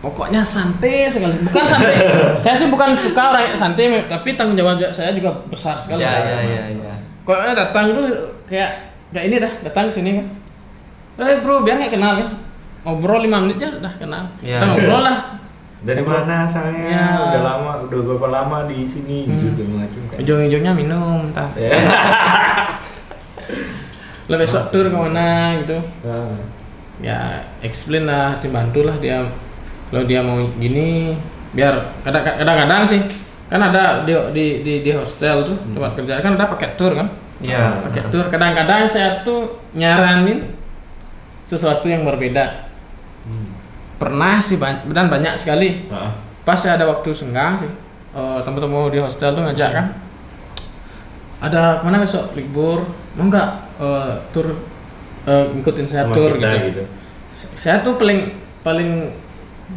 [SPEAKER 3] Pokoknya santai sekali. Bukan santai. saya sih bukan suka orang yang santai, tapi tanggung jawab saya juga besar sekali.
[SPEAKER 2] Ya, ya, ya, ya.
[SPEAKER 3] Kalau orang datang tuh kayak kayak ini dah, datang ke sini kan. Eh bro, biar nggak kenal kan. Ngobrol 5 menit aja udah kenal.
[SPEAKER 2] Ya.
[SPEAKER 3] Kita ngobrol lah.
[SPEAKER 4] dari mana asalnya
[SPEAKER 3] Ya.
[SPEAKER 4] udah lama udah berapa lama di sini
[SPEAKER 3] Hmm.
[SPEAKER 4] gitu macam kayak
[SPEAKER 3] Ujung-ujungnya minum, entah.
[SPEAKER 4] [LAUGHS] Ya.
[SPEAKER 3] Lah besok tur kemana gitu.
[SPEAKER 4] Ah.
[SPEAKER 3] ya explain lah dibantulah dia kalau dia mau gini biar kadang- kadang-kadang sih kan ada di di di, di hostel tuh tempat kerja kan ada paket tour kan
[SPEAKER 2] Iya.
[SPEAKER 3] paket tour kadang-kadang saya tuh nyaranin sesuatu yang berbeda
[SPEAKER 4] Hmm.
[SPEAKER 3] pernah sih ban- dan banyak sekali
[SPEAKER 4] Ah.
[SPEAKER 3] pas saya ada waktu senggang sih eh, teman-teman di hostel tuh ngajak kan ada mana besok libur mau nggak eh, tur eh, ngikutin saya
[SPEAKER 4] Sama
[SPEAKER 3] tur
[SPEAKER 4] kita
[SPEAKER 3] gitu saya tuh paling paling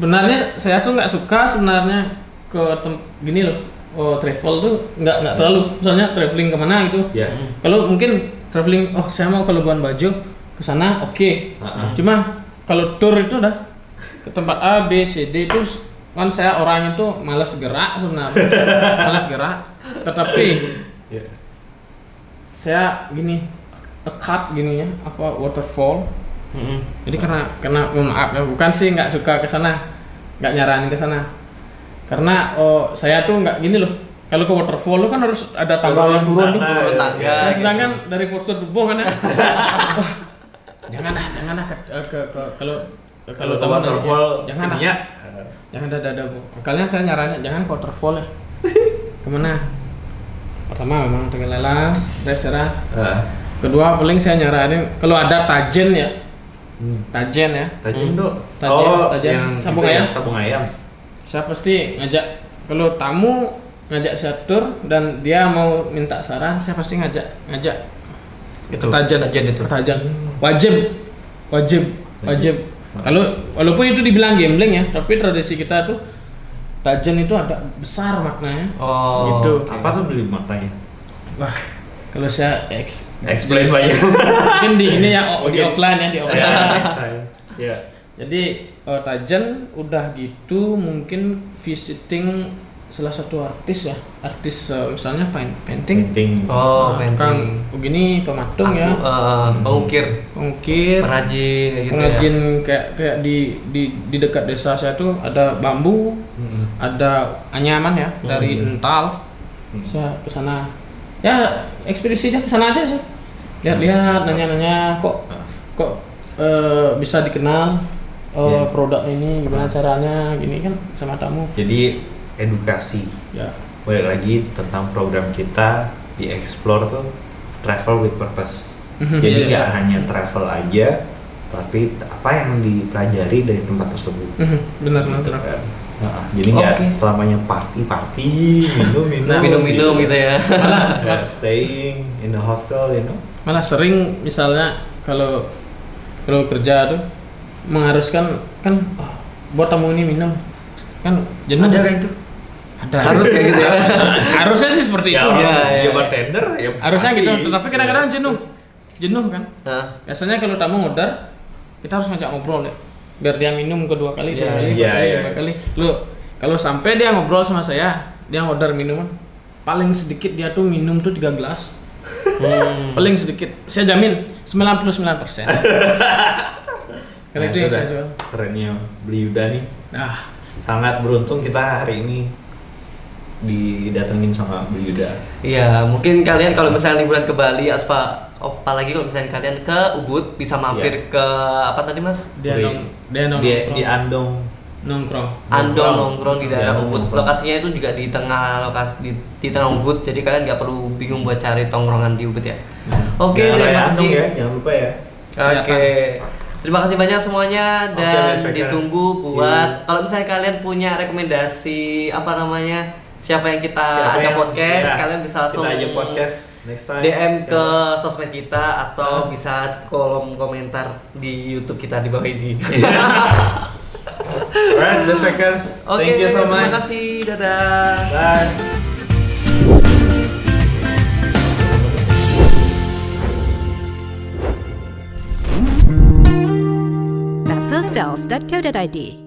[SPEAKER 3] benarnya saya tuh nggak suka sebenarnya ke tem- gini loh oh, travel tuh nggak nggak terlalu soalnya traveling kemana gitu
[SPEAKER 4] ya
[SPEAKER 3] kalau mungkin traveling oh saya mau ke Labuan Bajo ke sana oke
[SPEAKER 4] Ah, ah.
[SPEAKER 3] cuma kalau tour itu udah ke tempat A B C D itu s- kan saya orang itu malas gerak [LAUGHS] sebenarnya malas gerak tetapi
[SPEAKER 4] Ya.
[SPEAKER 3] saya gini a cut gini ya apa waterfall
[SPEAKER 2] Mm-mm.
[SPEAKER 3] jadi karena karena mohon maaf ya bukan sih nggak suka ke sana, nggak nyaranin ke sana. Karena oh, saya tuh nggak gini loh. Kalau ke waterfall lu kan harus ada tangga yang turun tuh.
[SPEAKER 4] tangga,
[SPEAKER 2] Turun
[SPEAKER 4] ya.
[SPEAKER 2] tangga.
[SPEAKER 3] Nah,
[SPEAKER 2] gitu.
[SPEAKER 3] sedangkan dari postur tubuh
[SPEAKER 4] [LAUGHS]
[SPEAKER 3] kan ya. jangan lah, jangan lah ke eh, ke ke- kalau
[SPEAKER 4] kalau teman ya. terpol
[SPEAKER 3] jangan lah. Jangan ada ada bu. Makanya saya nyarannya jangan ke waterfall
[SPEAKER 4] [LAUGHS]
[SPEAKER 3] ya. Kemana? Pertama memang Tegalalang, Deseras. Kedua paling saya nyaranin kalau ada Tajen ya,
[SPEAKER 4] Hmm.
[SPEAKER 3] Tajen ya.
[SPEAKER 4] tajin tuh
[SPEAKER 3] Tajin,
[SPEAKER 4] oh
[SPEAKER 3] tajin.
[SPEAKER 4] yang
[SPEAKER 3] Sabung
[SPEAKER 4] itu ya,
[SPEAKER 3] ayam.
[SPEAKER 4] sabung ayam
[SPEAKER 3] saya pasti ngajak kalau tamu ngajak saya tur dan dia mau minta saran saya pasti ngajak ngajak
[SPEAKER 2] Itu,
[SPEAKER 3] ketajan
[SPEAKER 2] ketajan itu.
[SPEAKER 3] ketajan wajib wajib wajib kalau walaupun itu dibilang gambling ya tapi tradisi kita tuh tajan itu agak besar maknanya
[SPEAKER 2] Oh.
[SPEAKER 3] Gitu.
[SPEAKER 2] oke.
[SPEAKER 4] apa tuh beli matanya
[SPEAKER 3] wah kalau saya ex
[SPEAKER 2] Ya.
[SPEAKER 4] explain banyak
[SPEAKER 3] mungkin di ini ya oh, di
[SPEAKER 4] Mungkin.
[SPEAKER 3] offline ya
[SPEAKER 2] [LAUGHS]
[SPEAKER 3] di
[SPEAKER 4] ya
[SPEAKER 3] offline
[SPEAKER 4] ya
[SPEAKER 3] Jadi eh, Tajen udah gitu mungkin visiting salah satu artis ya, artis eh, misalnya pain- painting,
[SPEAKER 4] penting
[SPEAKER 2] Oh,
[SPEAKER 3] Nah, tukang
[SPEAKER 2] painting.
[SPEAKER 3] begini pematung ya,
[SPEAKER 2] Aku, eh, pengukir,
[SPEAKER 3] pengukir,
[SPEAKER 2] pengrajin kayak gitu ya.
[SPEAKER 3] pengrajin kayak kayak di di di dekat desa saya tuh ada bambu, ada anyaman ya
[SPEAKER 2] Hmm.
[SPEAKER 3] dari ental, saya kesana ya ekspedisinya kesana aja
[SPEAKER 2] Hmm.
[SPEAKER 3] sih, lihat-lihat, nanya-nanya kok kok eh, bisa dikenal eh,
[SPEAKER 2] Ya.
[SPEAKER 4] Iya.
[SPEAKER 3] produk ini gimana caranya gini kan sama tamu
[SPEAKER 4] Jadi edukasi
[SPEAKER 3] ya
[SPEAKER 4] balik lagi tentang program kita di explore tuh travel with purpose.
[SPEAKER 3] Mhm.
[SPEAKER 4] Jadi
[SPEAKER 2] Iya,
[SPEAKER 4] nggak
[SPEAKER 2] iya.
[SPEAKER 4] hanya travel aja, tapi apa yang dipelajari dari tempat tersebut.
[SPEAKER 3] Mhm, benar benar
[SPEAKER 4] Gitu
[SPEAKER 3] benar.
[SPEAKER 4] kan. Nah, jadi nggak
[SPEAKER 2] Ah. Oke.
[SPEAKER 4] selamanya party party minum minum
[SPEAKER 3] Nah,
[SPEAKER 2] minum-minum gitu ya
[SPEAKER 4] Nggak staying in the hostel you know
[SPEAKER 3] malah sering misalnya kalau kalau kerja tuh mengharuskan kan "Oh, buat tamu ini minum kan jenuh
[SPEAKER 4] ada kayak itu
[SPEAKER 3] ada
[SPEAKER 2] harus kayak gitu ya
[SPEAKER 3] harusnya sih seperti itu Iya,
[SPEAKER 2] orang- ya, ya.
[SPEAKER 4] bartender ya
[SPEAKER 3] harusnya
[SPEAKER 4] pasti.
[SPEAKER 3] gitu tetapi kadang-kadang jenuh jenuh kan
[SPEAKER 2] Nah,
[SPEAKER 3] biasanya kalau tamu ngorder kita harus ngajak ngobrol ya biar dia minum kedua kali
[SPEAKER 2] Iya,
[SPEAKER 3] tiga kali,
[SPEAKER 4] iya,
[SPEAKER 3] empat kali,
[SPEAKER 4] iya.
[SPEAKER 3] lima kali lu kalau sampai dia ngobrol sama saya dia ngorder minuman paling sedikit dia tuh minum tuh tiga gelas paling sedikit saya jamin 99% karena
[SPEAKER 4] Nah,
[SPEAKER 3] itu yang
[SPEAKER 4] dah.
[SPEAKER 3] saya jual
[SPEAKER 4] kerennya beli Yuda nih
[SPEAKER 3] nah
[SPEAKER 4] sangat beruntung kita hari ini didatengin sama beli Yuda
[SPEAKER 2] Iya, mungkin kalian kalau misalnya liburan ke Bali, aspa, apalagi kalau misalnya kalian ke Ubud bisa mampir
[SPEAKER 4] Iya.
[SPEAKER 2] ke apa tadi mas?
[SPEAKER 3] dia
[SPEAKER 4] Beli-
[SPEAKER 3] nong dia nong
[SPEAKER 4] di,
[SPEAKER 3] nongkrong.
[SPEAKER 4] di Andong
[SPEAKER 3] nongkrong
[SPEAKER 2] Andong
[SPEAKER 4] Nongkrong.
[SPEAKER 2] nongkrong di daerah
[SPEAKER 4] Iya,
[SPEAKER 2] Ubud.
[SPEAKER 4] nongkrong.
[SPEAKER 2] Lokasinya itu juga di tengah lokasi di, di tengah Ubud, jadi kalian nggak perlu bingung buat cari tongkrongan di Ubud ya. Oke,
[SPEAKER 4] Jangan raya
[SPEAKER 2] terima
[SPEAKER 4] Hmm. Andong
[SPEAKER 2] kasih.
[SPEAKER 4] ya jangan lupa ya
[SPEAKER 2] Oke. Terima kasih banyak semuanya
[SPEAKER 4] Oke,
[SPEAKER 2] dan
[SPEAKER 4] respect, guys.
[SPEAKER 2] ditunggu
[SPEAKER 4] See you.
[SPEAKER 2] buat kalau misalnya kalian punya rekomendasi apa namanya siapa yang kita
[SPEAKER 4] Siapa
[SPEAKER 2] Eh, ajak
[SPEAKER 4] yang-
[SPEAKER 2] podcast,
[SPEAKER 4] ya,
[SPEAKER 2] kalian bisa langsung
[SPEAKER 4] kita ajak podcast next time
[SPEAKER 2] DM
[SPEAKER 4] Siapa?
[SPEAKER 2] ke sosmed kita atau
[SPEAKER 4] Ah.
[SPEAKER 2] bisa kolom komentar di YouTube kita di bawah ini.
[SPEAKER 4] Iya. alright the speakers
[SPEAKER 2] [LAUGHS] Oke,
[SPEAKER 4] thank you so
[SPEAKER 2] terima
[SPEAKER 4] much
[SPEAKER 2] kasih. Dadah.
[SPEAKER 4] bye
[SPEAKER 5] That's hostels.co.id.